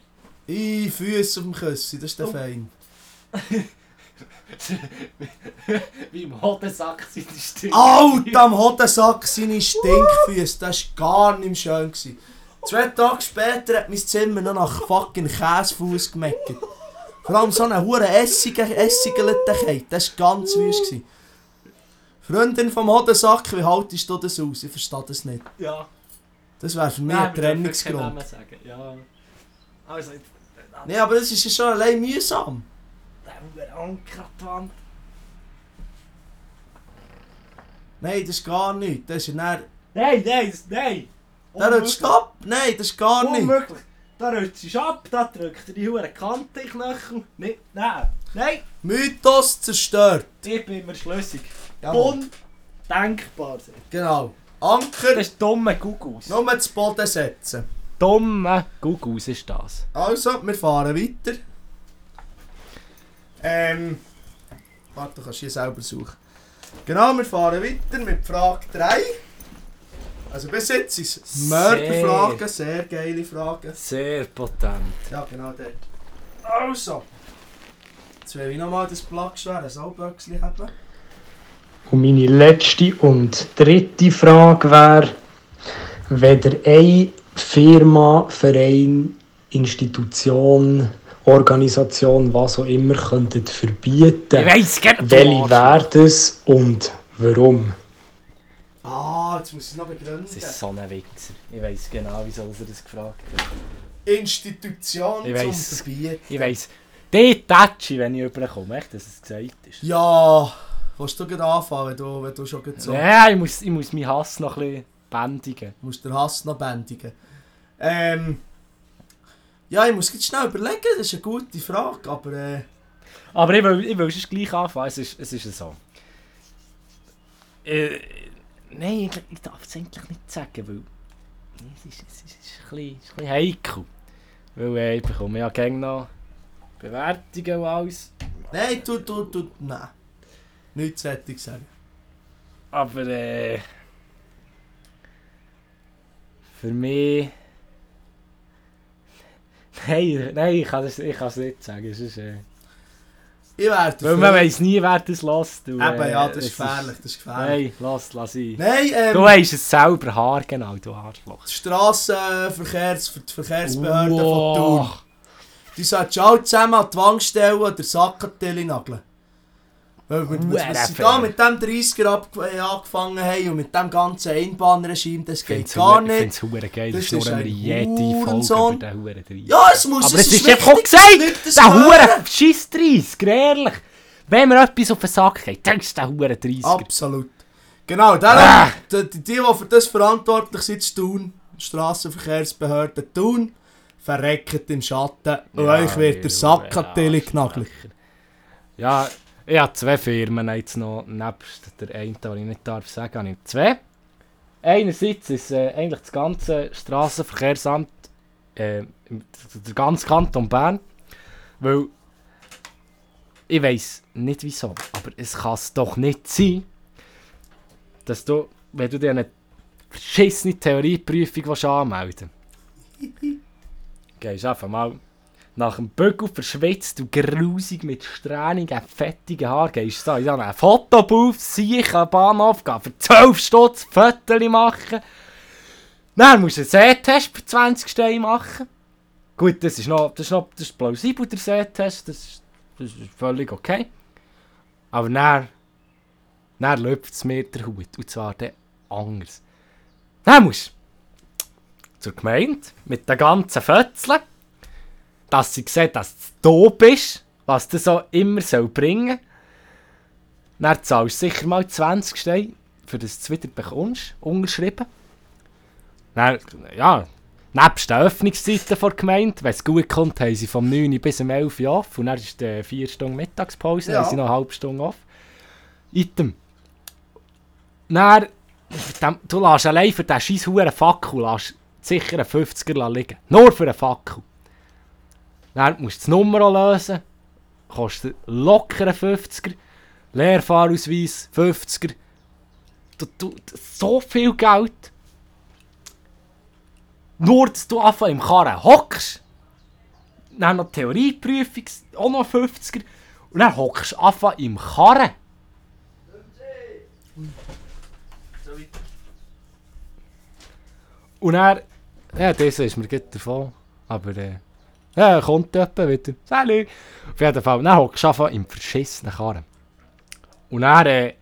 Ih, Füße auf dem Küssi, das ist der Oh. Fein. Wie im Hodensack sind die Stimmen. Ah, Alter, am Hodensack seine Stinkfüße, das war gar nicht mehr schön. Gewesen. Zwei Tage später hat mein Zimmer noch nach fucking Käsefuß gemeckert. Vor allem so einen hohen essigen, essigen Keit, das war ganz wüst. Gewesen. Freundin vom Hodensack, wie haltest du das aus? Ich verstehe das nicht. Ja. Das wäre für mich Nein, ein wir dürfen keinen Trennungsgrund. Namen sagen. Ja. Also, jetzt- Nee, aber das ist ja schon allein mühsam. der Huren Anker an die Wand. Nein, das ist gar nicht. Das ist ja dann... Nein, nein, das- nein. Der rutscht ab. Nein, das ist gar nicht. Unmöglich. Da rutscht es ab, da drückt er die Huren Kante in den Knöchel. Nicht, nein. Nein, Mythos zerstört. ich bin mir schlüssig. Jawohl. Undenkbar. Genau. Anker... Das ist dumme Gugus. Nur zu Boden setzen. Dumme Gugus ist das. Also, wir fahren weiter. Ähm. Warte, du kannst hier selber suchen. Genau, wir fahren weiter mit Frage 3. Also bis jetzt sind es Sehr. Mörderfragen, sehr geile Fragen. Sehr potent. Ja, genau dort. Also. Jetzt will ich nochmal das Plagschwere Sauböckchen haben. Und meine letzte und dritte Frage wäre, wenn ihr eine Firma, Verein, Institution, Organisation, was auch immer, könntet verbieten, weiß gerne. welche wäre das und warum? Ah, jetzt muss ich es noch begründen. Das ist so ein Wichser. Ich weiß genau, wieso er das gefragt hat. Institution Ich zum weiss. Verbieten. Ich weiß. Die Tatschi, wenn ich überkomme, echt, dass es gesagt ist. Ja, willst du gerade anfangen, wenn du, wenn du schon gerade so... Nein, ich muss, ich muss meinen Hass noch ein bisschen bändigen. musst den Hass noch bändigen. Ähm, ja, ich muss jetzt schnell überlegen, das ist eine gute Frage, aber äh, Aber ich will, ich will es gleich anfangen. Es ist, es ist so. Äh, nein, ich, ich darf es eigentlich nicht sagen, weil. Nee, Es ist, es ist, es ist, ein, bisschen, es ist ein bisschen heikel. Weil äh, ich bekomme ja gerne noch Bewertungen und alles. nein, du, du, du, nein. Nichts hätte ich sagen. Aber äh, für mich. Nein, nein, ich kann es ich kann's nicht sagen. Es ist, äh, Ich wäre weil dafür. man weiß nie, wer das lässt. Eben, Eben, Ah, ja, das ist gefährlich, das ist gefährlich. Nein, lass, lass sein. Nein, Du ähm, weißt es selber haargenau, du Arschloch. die eh, Strassenverkehrs, die Verkehrsbehörde Wow. von Thun. Die sollten alle zusammen an die Wand stellen und den Sackkartell nageln. Weil wir, Huere was sie fair. da mit dem 30er ab, äh, angefangen haben und mit dem ganzen Einbahnregime, das geht Find's gar hu- nicht. find's hure geil, Das das ist schnurren wir ein jede Folge Hurensohn. über den Huren 30. Ja, es muss, Aber es es ist ist einfach auch wichtig, dass die Leute gesagt, das der hören. Huren scheiß 30, ehrlich. Wenn mir etwas auf den Sack geht, dann ist der Huren 30. Absolut. Genau, darum, die, die, die für das verantwortlich sind, zu tun, Strassenverkehrsbehörde tun, verreckt im Schatten Oh, und euch wird der Sack an die Tille genagelt. Ja, ich habe zwei Firmen jetzt noch, nebst der einen, die ich nicht darf sagen, habe ich zwei. Einerseits ist äh, eigentlich das ganze eh, Strassenverkehrsamt äh, im- der ganze Kanton Bern, weil ich weiß nicht wieso, aber es kann es doch nicht sein, dass du, wenn du dir eine verschissene Theorieprüfung willst anmelden gehst einfach mal nach dem Bügel verschwitzt und grusig mit strähnigen, fettigen Haaren gehst du da in so einen Fotobooth, sich an den Bahnhof gehen, für 12 Stutz Fotos machen. Dann musst du einen Sehtest für 20 Steine machen. Gut, das ist noch, das ist noch das ist plausibel, der Sehtest, das ist, das ist völlig okay. Aber dann, dann läuft es mir der Hut, und zwar dann anders. Dann musst du zur Gemeinde mit den ganzen Fötzeln, dass sie sehen, dass du dope bist, was das so immer soll bringen soll. Dann zahlst du sicher mal 20 Steine, für das du es wieder bekommst, unterschrieben. Dann, ja, nebst den Öffnungszeiten der Gemeinde, wenn es gut kommt, haben sie vom 9 Uhr bis um 11 Uhr off und dann ist die 4 Stunden Mittagspause, Ja. haben sie noch eine halbe Stunde off. Item. Dann, dem- du lässt allein für diesen scheiß Huren Fackel lässt sicher einen 50er liegen. Nur für einen Fackel. Dann musst du die Nummer auch lösen. Kostet locker einen 50er. Lehrfahrausweis 50er. Du, du, so viel Geld. Nur, dass du einfach im Karren hockst. Dann noch die Theorieprüfung, auch noch 50er. Und dann hockst du einfach im Karren. Und er. Ja, das ist mir gut davon. Aber. Äh, ja, kommt jemand wieder. Salut! Auf jeden Fall. Dann hockst du einfach im verschissenen Karren. Und er. Äh,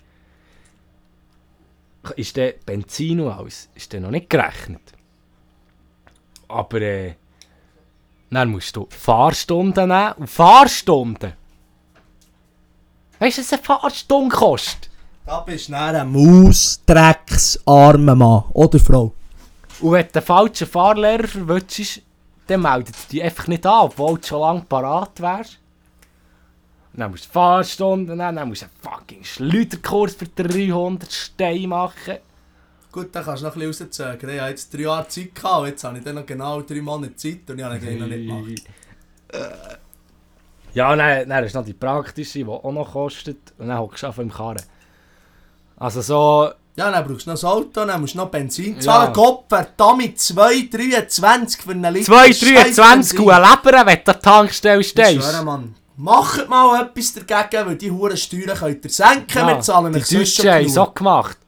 ist der Benzin und alles. Ist der noch nicht gerechnet. Aber. Äh, dann musst du Fahrstunden nehmen. Und Fahrstunden! Weißt du, was eine Fahrstunde kostet? Da bist du dann ein Mausdrecksarmer Mann. Oder Frau. Und wenn du den falschen Fahrlehrer verwutschst, dann meldet er dich einfach nicht an, obwohl du schon lange parat wärst. Und Dann musst du Fahrstunden nehmen, dann musst du einen fucking Schleuderkurs für 300 Steine machen. Gut, dann kannst du noch ein bisschen rauszögern. Ich hatte jetzt drei Jahre Zeit gehabt, und jetzt habe ich dann noch genau drei Monate Zeit und ich habe ihn noch nicht gemacht. Äh. Ja, nein, nein, das ist noch die praktische, die auch noch kostet. Und dann hockst du einfach im Karren. Also so... Ja, dann brauchst du noch das Auto, dann musst du noch Benzin zahlen. Ja. Gott verdammt, 2,23 für einen Liter. 2,23 und Uhr. ein Leber, wenn du an der Tankstelle Ich stehst. schwöre, Mann. Macht mal etwas dagegen, weil die Huren Steuern könnt ihr senken. wir zahlen die euch sonst Deutschen schon haben genug. so gemacht.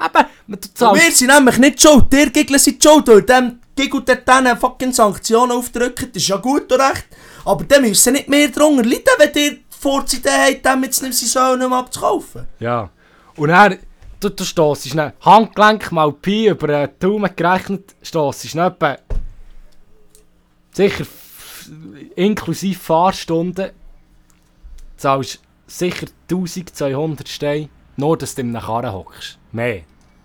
Eben, man- du Und zahlst wir sind nämlich nicht schuld, ihr Gegner sind schuld, weil dem Gegner dort denen fucking Sanktionen aufdrücken, das ist ja gut und recht, aber dann müssen nicht mehr drunter leiden, wenn ihr die Vorzeit habt, dem jetzt nicht seine Säulen abzukaufen. Ja. Und er, du, du stossest ihn, Handgelenk mal Pi über den Daumen gerechnet, stossest ihn etwa sicher f- inklusive Fahrstunden zahlst sicher 1200 Steine, nur dass du im Karren hockst. Mehr.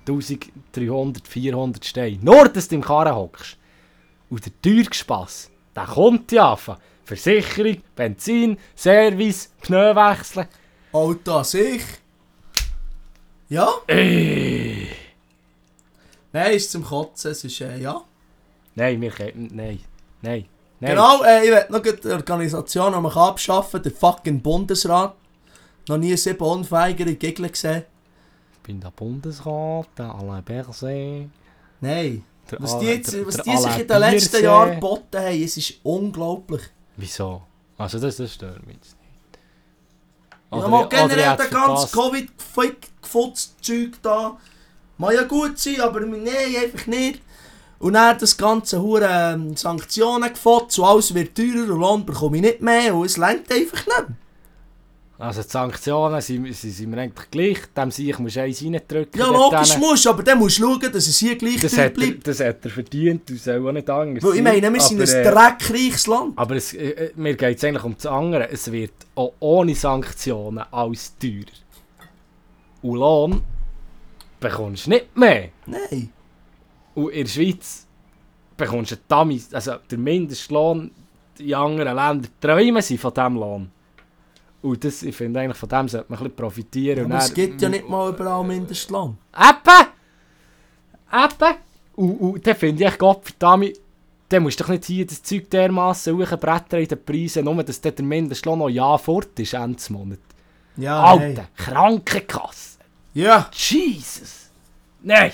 1300, 400 Steine. Nur dass du im Karren hockst. Und der teure Spass, der kommt ja einfach. Versicherung, Benzin, Service, Pneu wechseln. Auto Halt an sich. Ja? Nein, ist zum Kotzen, es ist, äh, ja. Nein, wir können. Nein. Nein. Nein. Genau, äh, ich will noch gleich die Organisation, die man kann abschaffen kann, der fucking Bundesrat. Noch nie sieben unfeigere Gegner gesehen. Ich bin der Bundesrat, der Alain Berset. Nein. Was die, Alain- jetzt, Oh, der- was der die sich Alain in den letzten Bierset. Jahren geboten haben, es ist unglaublich. Wieso? Also, das, das stört mich jetzt nicht. Ja, Oder- mal oder ich generell hätte der ganze verpasst. Covid-Gefutz-Zeug da. Mag ja gut sein, aber nein, einfach nicht. Und dann das ganze hure ähm, Sanktionen gefotzt und alles wird teurer und Lohn bekomme ich nicht mehr und es längt einfach nicht. Also, die Sanktionen sind, sind, sind mir eigentlich gleich. Dem sehe ich, muss eins reindrücken. Ja, dort logisch hinten. musst, aber dann musst du schauen, dass es hier gleich Das teuer hat, er, bleibt. das hat dus er dus verdient, du sollst auch nicht anders. Weil ich sein, meine, wir sind ein aber, äh, dreckreiches Land. Aber es, äh, äh, mir geht es eigentlich um das andere. Es wird auch ohne Sanktionen alles teurer. Und Lohn bekommst du nicht mehr. Nein. Und in der Schweiz bekommst du einen Dummy, also der Mindestlohn, in anderen Ländern träumen sie von diesem Lohn. Und das, ich finde eigentlich, von dem sollte man ein bisschen profitieren. Aber und es dann- gibt ja nicht mal überall Mindestlohn. Eben! Eben! Und, und dann finde ich, Gott verdammt, Dann musst du doch nicht hier das Zeug dermassen hochbrettern in den Preisen, nur dass dann der Mindestlohn noch ja fort ist, Ende des Monats. Ja, Alter, nein. Krankenkasse. Ja, Jesus. Nein.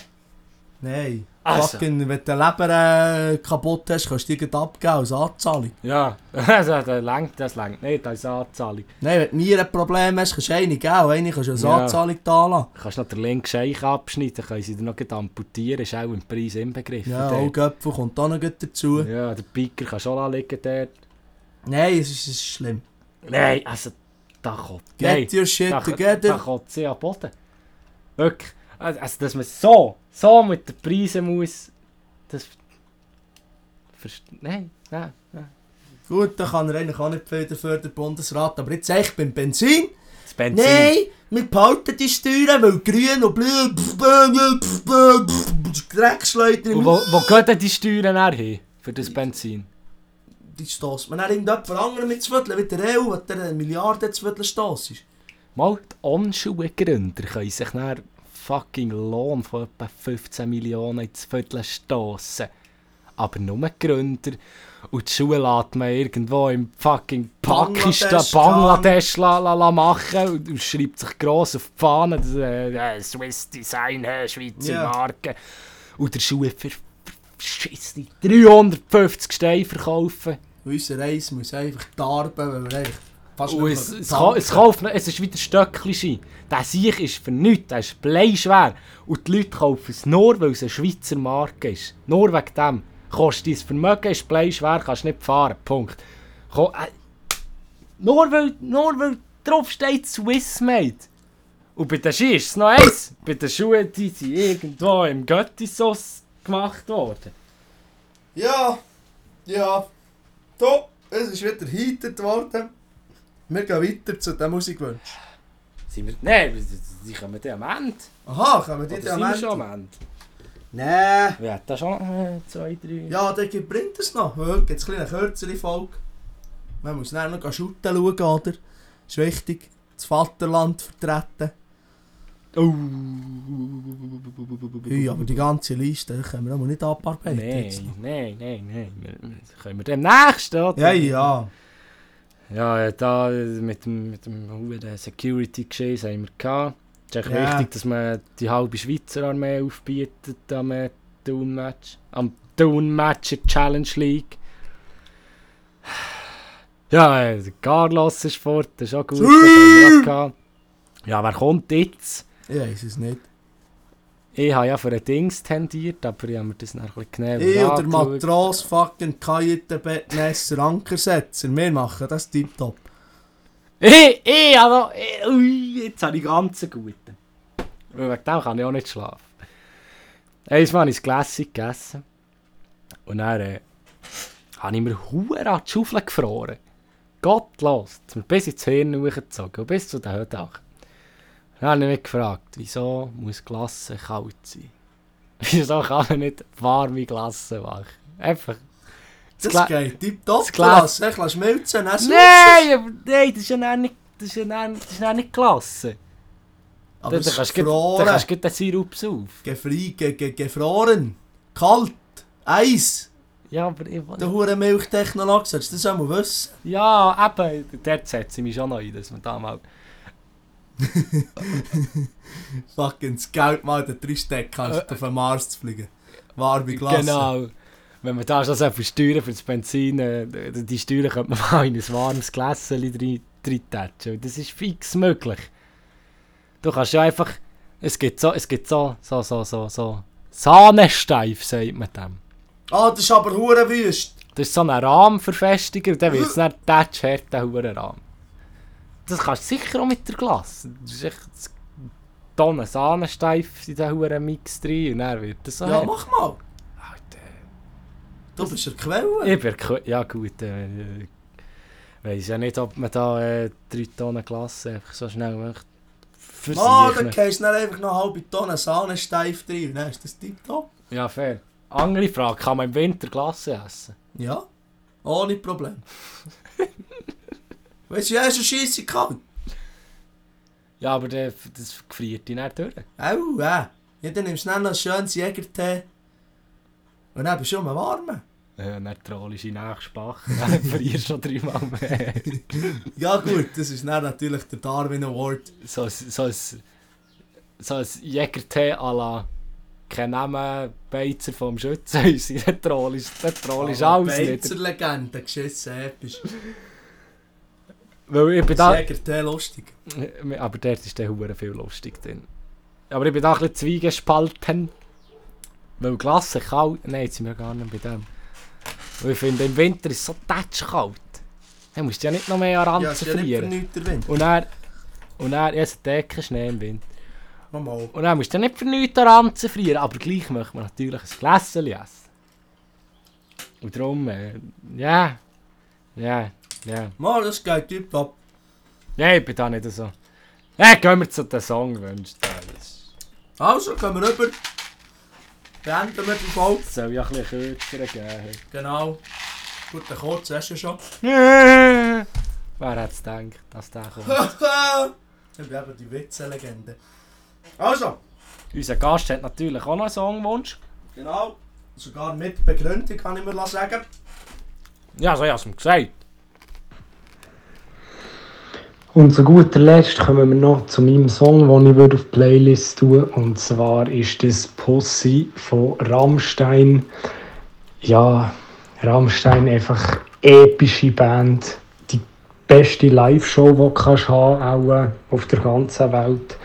nein. Also. Fucking, wenn du Leber äh, kaputt hast, kannst du dir gleich abgeben als Anzahlung. Ja, also, das längt, das längt nicht als Anzahlung. Nein, wenn du nie ein Problem hast, kannst du eine geben. und Eine kannst du als Ja. Anzahlung da lassen. Du kannst noch den linken Scheich abschneiden, können sie dir noch gleich amputieren, ist auch im Preis inbegriffen. Ja, dort. auch Göpfel kommt auch noch gut dazu. ja der Piker kann schon anlegen dort. Nein, es ist, es ist schlimm. Nein, also, da kommt. Get nein, your shit da, da together. kommt sie an den Boden. Wirklich. Also, also, dass man so, so mit den Preisen muss, das... Verst nein, nein, nein. Gut, da kann er eigentlich auch nicht viel dafür, der Bundesrat. Aber jetzt echt beim Benzin. Das Benzin. Nein, wir behalten die Steuern, weil grün und blöd, pf, blöd, pf, blöd, pf, pf, Dreckschleuder Und im wo, wo gehen denn die Steuern her hin? Für das Benzin? Die stossen. Man hat irgendjemand anderen mit Zwötteln, wie der EU, der eine Milliarde Zwötteln stossen ist. Mal die Onschuhgründer können sich nach fucking Lohn von etwa 15 Millionen ins Viertel stossen. Aber nur die Gründer. Und die Schuhe lässt man irgendwo im fucking Pakistan, Bangladesch, Bangladesch la, la, la machen und, und schreibt sich gross auf die Fahne, dass, äh, äh, Swiss Design, äh, Schweizer Ja. Marke. Und der Schuhe für Scheisse 350 Steine verkaufen. Und unser Eis muss einfach darben, weil wir eigentlich fast Und nicht es, mehr es, ka- es, kauft, es ist wieder Stöckchen. Der Sieg ist für nichts, der ist bleischwer. Und die Leute kaufen es nur, weil es eine Schweizer Marke ist. Nur wegen dem. Kostet dein Vermögen, ist bleischwer, kannst nicht fahren. Punkt. Ko äh, nur, weil, nur weil drauf steht Swiss Made. Und bei den Ski ist es noch eins. bei den Schuhen, die sind irgendwo im Göttisauce gemacht worden. Ja, ja. Top, es ist wieder heitert worden. Wir gehen weiter zu dem Musikwunsch. Sind wir, nein, die kommen dann am Ende. Aha, kommen die Oder sind wir schon Diamanten? am Ende? Nee. Wir hätten schon äh, zwei, drei... Ja, dann gibt- bringt es noch. Heute gibt es eine kleine kürzere Folge. Man muss dann noch shooten schauen, oder? Ist wichtig. Das Vaterland vertreten. Oh. Ui, aber die ganze Liste die können wir auch nicht abarbeiten. jetzt Nein, noch. nein, nein, nein. Wir- wir- Können wir demnächst, oder? Ja, ja. Ja, ja, da äh, mit dem, mit dem huere Security-Geschehen haben wir gehabt. Es ist echt Ja. wichtig, dass man die halbe Schweizer Armee aufbietet am äh, Down-Match. Am Down-Matcher Challenge League. Ja, äh, der Carlos ist fort, das ist auch gut. das haben wir auch gehabt. Ja, wer kommt jetzt? Ich weiß es nicht. Ich habe ja für ein Dings tendiert, aber ich habe mir das nachher ein bisschen genauer Ich und der angeschaut. Matros fucking Kajetenbettmesser Ankersetzer. Wir machen das tiptop. Ich, ich, also, ich, ui, eh, jetzt habe ich ganz einen guten. Weil wegen dem kann ich auch nicht schlafen. Einmal habe ich das Gläschen gegessen. Und dann äh, habe ich mir Huren an die Schaufel gefroren. Gottlos. Hat's mir Bis ins Hirn hochgezogen. und Bis zu den Hödach. Dann habe ich mich gefragt, wieso muss Glasse kalt sein? Wieso kann man nicht warme Glasse machen? Einfach. Das Gla- geht tiptop. das Glas- Lass dich schmelzen, es Nein, aber nein, das ist ja dann nicht, das ist ja dann, das ist dann nicht Glasse. Aber Dann es ist kannst du gleich- dann gefroren. kannst du gleich den Sirup auf. Gefri- ge- ge- Gefroren. Kalt. Eis. Ja, aber ich will- Der hure Milchtechnologe, sollst du das einmal wissen? Ja, eben, dort setze ich mich schon ein, dass man da mal... Fucking das Geld mal den Tristeck kannst, auf den Mars zu fliegen. Warme Klasse. Genau. Wenn man da schon so viel Steuern für das Benzin... Äh, die die Steuern könnte man mal in ein warmes Gläschen rein- reintatschen. Das ist fix möglich. Du kannst ja einfach... Es gibt so, es gibt so, so, so, so, so... Sahnesteif, sagt man dem. Ah, das ist aber hure wüst. Das ist so ein Rahmenverfestiger, der wird es nicht tätsch hart, der hohe Rahmen. Das kannst du sicher auch mit der Glas. Das ist echt das- Tonnen Sahnensteif in diesen hohen Mix drin und dann wird das so Ja, hart. mach mal. Alter. Du bist der Quelle. Ich bin, ku- ja gut, äh, weiß ja nicht, ob man da äh, drei Tonnen Glas einfach so schnell möchte. Ah, Versichern. dann gehst du dann einfach noch eine halbe Tonne Sahne steif rein. Dann ist das tiptop. Ja, fair. Andere Frage, kann man im Winter Glas essen? Ja. Oh, Ohne Problem. weißt du, ja, ist schon scheisse kalt. Ja, aber der, das gefriert dich nicht durch. Au, äh. Ja, dann nimmst du dann noch ein schönes Jägertee. Und dann bist du schon mal warm. Ja, dann trollst du Nachspach. Dann verlierst du schon dreimal mehr. Ja Dus gut, das ist dann natürlich der Darwin Award. So ein, so ein, so ein Jägertee à la kein Name, Beizer vom Schützenhaus. Dann trollst dann trollst du Ah, alles wieder. Legende, geschissen, episch. Weil ich bin da, Jäger, der lustig. aber dort ist der Huren viel lustig drin. Aber ich bin da ein bisschen zwiegespalten. Weil Glasse kalt... Nein, jetzt sind wir gar nicht bei dem. Weil ich finde, im Winter ist es so tätschkalt. Dann musst du ja nicht noch mehr an Ja, Ranzen ist ja nicht für frieren. nichts der Wind. Und er, und er, ja, es Decken Schnee im Wind. Nochmal. Und dann musst du ja nicht für nichts an Ranzen frieren, aber gleich möchte man natürlich ein Gläschen essen. Und darum, äh, ja, ja, ja. Mal, das geht tipptopp. Nein, ich bin da nicht so. Hey, gehen wir zu den Song wünscht. Also, gehen wir rüber. Beenden wir die Folge. Es soll ja ein bisschen kürzer gehen. Genau. Gut, dann kurz, hast du schon. Wer hätte es gedacht, dass der kommt? ich bin eben die Witzelegende. Also, Unser Gast hat natürlich auch noch einen Songwunsch. genau. Sogar mit Begründung kann ich mir sagen. Ja, so hast du ihm gesagt. Und zu guter Letzt kommen wir noch zu meinem Song, den ich würde auf die Playlist tun würde. Und zwar ist das Pussy von Rammstein. Ja, Rammstein einfach epische Band. Die beste Live-Show, die du kannst haben kannst, auf der ganzen Welt.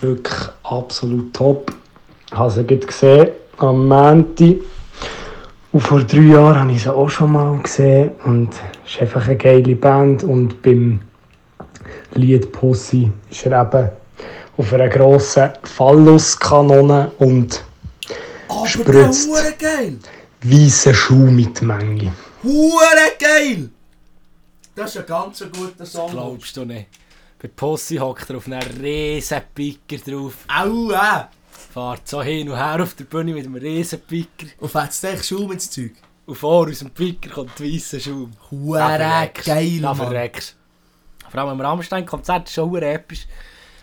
Wirklich absolut top. Ich habe sie gerade gesehen am Montag. Und vor drei Jahren habe ich sie auch schon mal gesehen. Und es ist einfach eine geile Band. Und beim Lied Pussy ist er eben auf einer grossen Phallus-Kanone und Aber Spritzt. der Hure geil! weißen Schuh mit Menge. Hure geil! Das ist ein ganz guter Song. Glaubst du nicht? Bei Pussy hockt er auf einem riesen Picker drauf. Au, äh! fährt so hin und her auf der Bühne mit einem riesen Picker. Und fetzt echt Schaum ins Zeug. Und vor aus dem Picker kommt der weisse Schaum. Da Hure verreckst. geil, Da Mann. verreckst. Vor allem am Rammstein-Konzert ist schon verdammt episch.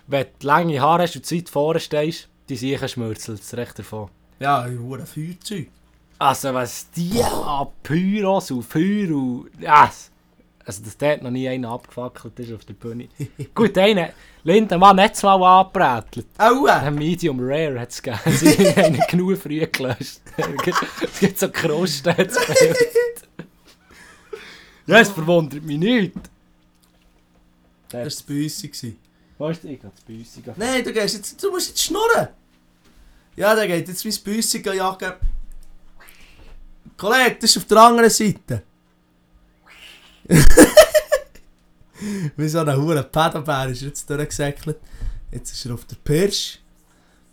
Wenn du lange Haare hast und zu weit vorne stehst, die sicher schmürzelt es recht davon. Ja, hure Feuerzeug. Also was die an Pyros und Feuer und... Yes. Also dass dort noch nie einer abgefackelt ist auf der Bühne. Gut, einer, Lindemann hat es mal angebrätelt. Au, äh! Ein Medium Rare hat es gegeben. Sie haben genug früh gelöscht. es gibt so Krusten. hat's gebildet. ja, es verwundert mich nicht. Das war bei uns. gewesen. Weißt du, ich gehe zu Büssigen. Nein, du, gehst jetzt, du musst jetzt schnurren! Ja, der geht jetzt mein Büssiger jagen. Kollege, das ist auf der anderen Seite. Wie so ein hoher Pedobär ist er jetzt durchgesäckelt. Jetzt ist er auf der Pirsch.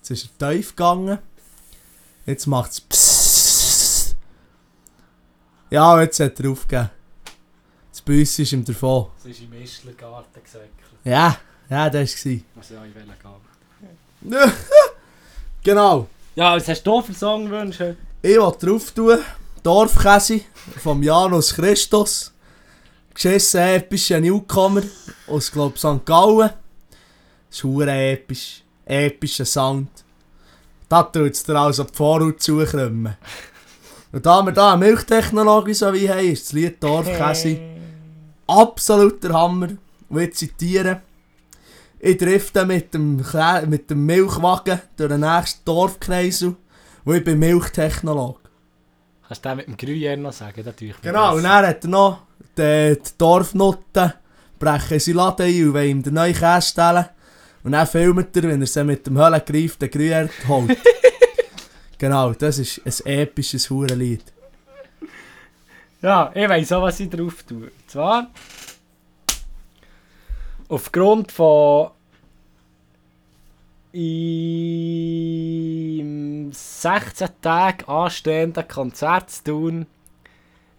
Jetzt ist er tief gegangen. Jetzt macht's Psst. Ja, und jetzt hat er aufgegeben. Das Büssi ist ihm davon. Es ist im Mischlergarten gesäckelt. Ja, ja, das war's. Was ich auch wollen gehen. genau. Ja, was hast du für Songwünsche? Ich will drauf tun. Dorfkäse vom Janus Christus. Geschissen epischer Newcomer aus, glaub St. Gallen. Ist hure episch. Epischer Sound. Da tut es dir also die Vorhaut zukrümmen. Und da wir da eine Milchtechnologie so wie haben, ist das Lied Dorfkäse absoluter Hammer. Und ich zitiere. Ich drifte mit dem, Krä- mit dem Milchwagen durch den nächsten Dorfkreisel. Und ich bin Milchtechnologe. Kannst du den mit dem Gruyère noch sagen? Das tue ich mir Genau, besser. und dann hat er noch die, die Dorfnutten, brechen seinen Laden ein und wollen ihm den neuen Käse stellen. Und dann filmt er, wenn er sie mit dem Höllengreif den Gruyère holt. genau, das ist ein episches Hurenlied. Ja, ich weiss auch, was ich drauf tue. Und zwar. Aufgrund von. im 16 Tagen anstehenden Konzert zu tun.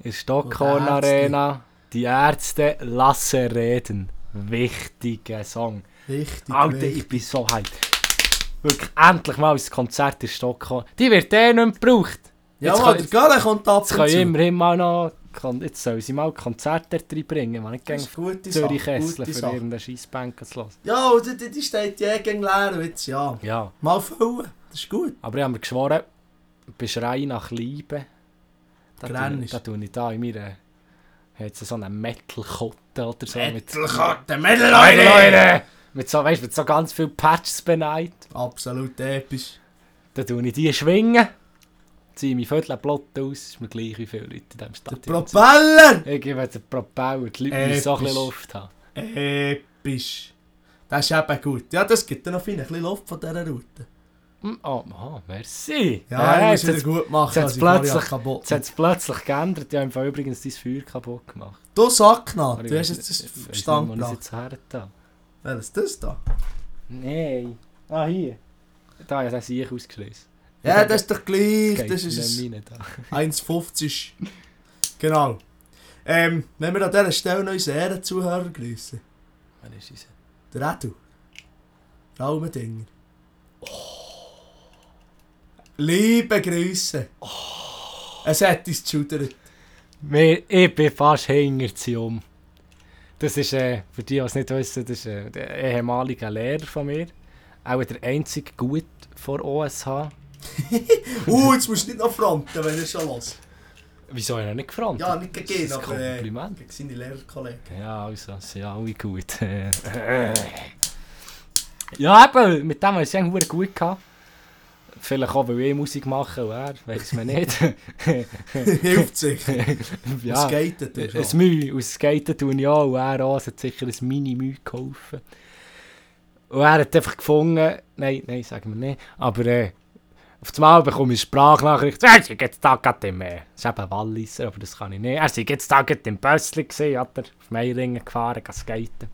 In Stockholm Und Ärzte. Arena. Die Ärzte lassen reden. Wichtiger Song. Richtig. Alter, ich bin so hyped. Wirklich, endlich mal ein Konzert in Stockholm. Die wird eh nicht mehr gebraucht. ja, jetzt Mann, kann- der Göhle kommt ab Jetzt kann und ich zu. immerhin mal noch. kann- Jetzt sollen sie mal Konzerte reinbringen. Man nicht Das gegen ist eine gute Sache, Zürich Kessler gute für Sache. irgendeinen Scheissbanken zu lassen. Ja, und die, die- die steht ja gegen leer, jetzt ja. Ja. Mal füllen, das ist gut. Aber ich habe mir geschworen, bei Schrei nach Liebe Da Grenn tue- ist- Da tue ich da in meiner. Hat so einen Metal-Kotte oder so. mit- Metalkotte, Leute! Mit so, weißt, mit so ganz viel Patches beneit. Absolut episch. Dann tue ich die schwingen. Ziehe mein Viertel platt aus. Ist mir gleich wie viele Leute in diesem Der Stadion. sind. Propeller! Ich gebe jetzt einen Propeller, die Leute müssen so ein Episch. bisschen Luft haben. Episch. Das ist eben gut. Ja, das gibt dir noch fein ein bisschen Luft von dieser Route. Hm, Oh, aha, merci. Ja, ja musst jetzt du wieder hat's- gut machen, jetzt dass ich hat's Maria plötzlich- kaputt Jetzt hat es plötzlich geändert. Ich habe im Fall übrigens dein Feuer kaputt gemacht. Du Sacknaht, Aber Ah, du hast ich jetzt weiss- das ich weiss nicht, Verstand wo ich es gebracht. jetzt her da. Welches das da? Nein. Ah, hier. Da hat er sich ausgeschlossen. Ja, das ist doch gleich. Geht Das ist nicht rein da. ein 1,50. Genau. Ähm, wenn wir an dieser Stelle noch unsere Ehrenzuhörer grüßen. Wer ist unser- Der Edu. Raumendinger. Liebe Grüße. Oh. Es hat uns geschudert. Wir- Ich bin fast hinter sie um. Das ist, äh, für die, die es nicht wissen, das ist äh, der ehemalige Lehrer von mir. Auch der einzige Gut vor OSH. Uh, jetzt musst du nicht noch fronten, wenn er schon los. Wieso hat er nicht gefragt? Ja, nicht gegen ihn, Das ist ein aber äh, Kompliment. gegen seine Lehrerkollegen. Ja, also, sind alle gut. eh. ja, eben, mit dem haben sie eigentlich verdammt gut gehabt. Vielleicht auch, weil ich Musik mache und er, weiß man nicht. Hilft sich. Ja. Es ja, geht ein natürlich. ein Mühe. Und Skaten tun ja auch. Und er auch, es hat sicher ein Mini-Mühe geholfen. Und er hat einfach gefunden, nein, nein, sagen wir nicht, aber äh, auf das Mal bekomme ich Sprachnachricht, er sei jetzt da gerade im, äh, das ist eben Walliser, aber das kann ich nicht, er sei jetzt da gerade im Bössli gewesen, hat er auf Meiringen gefahren, geht skaten.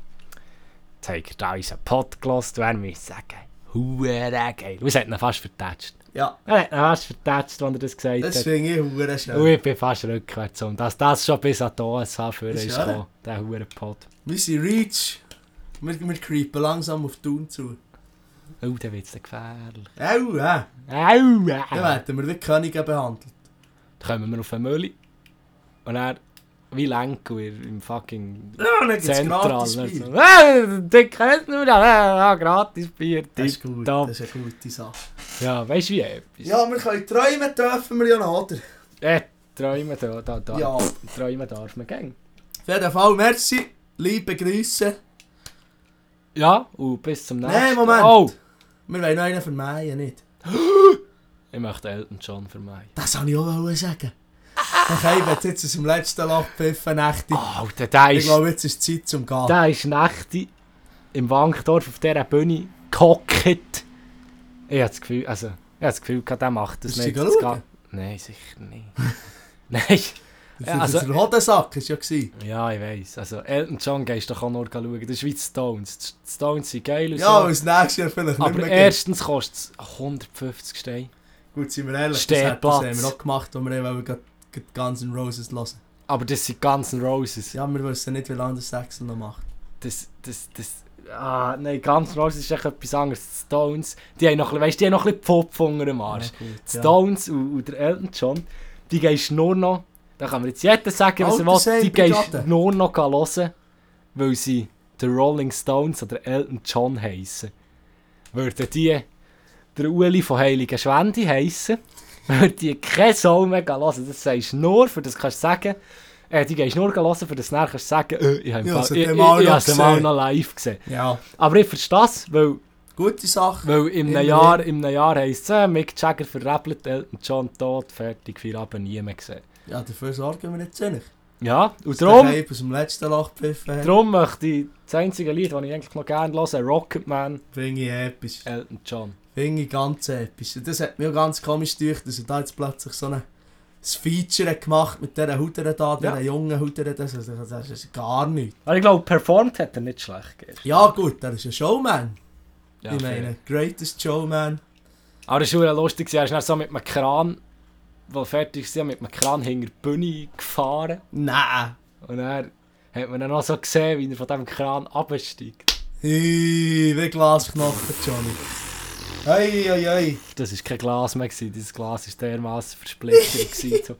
Jetzt hat er da unseren Pod gehört und er muss sagen, «Huere geil!» Und es hat ihn fast vertätscht. Ja, Er hat ihn fast vertätscht, als er das gesagt hat. das finde ich hure Und schnell. ich bin fast rückwärts um. Dass das schon bis an die OSH für Ist uns ja. kam, der Hurenpot. Wir sind Reach. Wir, wir creepen langsam auf die Tun zu. Oh, der wird's dann gefährlich. Au, äh. Au! Dann Äh. werden wir wie Könige behandelt. Dann kommen wir auf den Mülli. Und er, wie Lenko in- im fucking Ja, dann gibt's Zentral. gratis nicht Bier. so, Äh, der kennt nur das. Ja, gratis Bier. Das ist gut, tipptopp. das ist eine gute Sache. Ja, weißt du wie etwas? Ja, wir können träumen dürfen wir ja noch, oder? Äh, träumen da, da, da. Ja. Auf Träumen darf man gehen. jeden Fall, merci. Liebe Grüße. Ja, und bis zum nächsten Nein, Moment. Oh! Wir wollen noch einen vermeiden, nicht? Ich möchte Elton John vermeiden. Das wollte ich auch wollen sagen. Okay, wenn du jetzt aus dem letzten Loch pfiffen, Nächte. Oh, der, der Ich ist... glaube, jetzt ist Zeit zum Gehen. Da Ah. ist Nächte im Wankdorf auf dieser Bühne gehockt. Ich habe das Gefühl, also, ich hab das Gefühl gehabt, der macht das Bist du nicht. sie Das schauen? geht- Nein, sicher nicht. Nein, Ja, also- also, der Hodensack war ja. Gewesen. ja, ich weiss. Also, Elton John gehst doch auch nur schauen. Das ist wie die Stones. Die Stones sind geil und Ja, so. und das nächste Jahr vielleicht nicht Aber mehr. erstens kostet es 150 Steine. gibt. Gut, sind wir ehrlich, das, hat, Stehplatz. das haben wir auch gemacht, als wir eben gerade die Guns N' Roses hören. Aber das sind Guns N' Roses. Ja, wir wissen nicht, wie lange das Axel noch macht. Das, das, das... Ah, nein, Guns N' Roses ist echt etwas anderes. Die Stones, die haben noch ein bisschen, weißt, die haben noch ein bisschen Pop unter dem Arsch. Die Ja, gut, Stones und, und der Elton John, die gehst nur noch, da kann man jetzt jeder sagen, was Alte er will, die Seilbrigade. gehst nur noch hören, weil sie The Rolling Stones oder Elton John heissen. Würden die der Uli von Heiligen Schwendi heissen, würden die keine Soul mehr hören. Das sagst du nur, für das kannst du sagen, äh, die gehst nur hören, für das nachher kannst du sagen, äh, ich habe Ja, ja, das ich, hat ich, der ich, mal noch habe sie mal gesehen. noch live gesehen. ja. ja, Aber ich verstehe es, weil gute Sache. weil im Immerhin. Jahr, im Jahr heisst es, äh, Mick Jagger verrappelt, Elton John tot, fertig, vier Abend nie mehr gesehen. Ja, dafür sorgen wir nicht zu wenig. Ja, und Der darum, Hype aus dem letzten Loch pfiffen, hat, darum möchte ich das einzige Lied, das ich eigentlich noch gerne höre, Rocketman, finde ich episch. Elton John. Finde ich ganz episch. Und Das hat mir auch ganz komisch gedacht, dass er da jetzt plötzlich so ein Feature hat gemacht mit dieser Hutere da, dieser Ja. jungen Hutere, das, das, das ist gar nichts. Aber ich glaube, performt hat er nicht schlecht gestern. Ja gut, der ist ein Showman. Ja, ich meine, greatest Showman. Aber das war schon lustig, er ist dann so mit einem Kran, der fertig war, mit einem Kran hinter die Bühne gefahren. Nein. Und er hat man dann noch so gesehen, wie er von diesem Kran absteigt. Hey, wie Glasknochen, Johnny. Hey, hey, hey. Das war kein Glas mehr, gewesen, dieses Glas war dermassen versplittert. gewesen, so,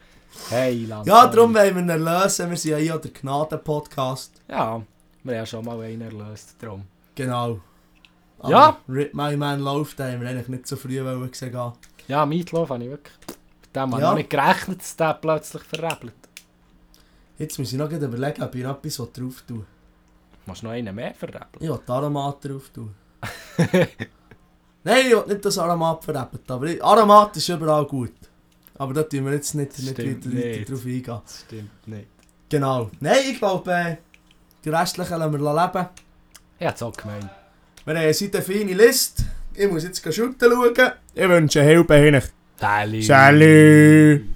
hey, Land, Ja, darum wollen wir ihn lösen. Wir sind ja hier der Gnaden-Podcast. Ja, wir haben schon mal einen erlöst drum. Genau. Ja. Rip My Man läuft, da haben wir eigentlich nicht so früh wollen gesehen. gehen. Ja, Meatloaf habe ich wirklich Mit dem habe Ja. ich nicht gerechnet, dass der plötzlich verrebelt. Jetzt muss ich noch gleich überlegen, ob ich noch etwas drauf tun will. Musst du noch einen mehr verrebeln? Ich will die Aromat drauf tun. Nein, ich will nicht das Aromat verreppen, aber ich- Aromat ist überall gut. Aber da tun wir jetzt nicht, nicht Stimmt weiter, weiter nicht. drauf eingehen. Das stimmt nicht. Genau. Nein, ich glaube, äh, die restlichen lassen wir leben. Ich hab's auch gemeint. Wir haben seit eine feine Liste. Ich muss jetzt schauen. schauen. Ich wünsche Hilfe hin. Sally. Salut!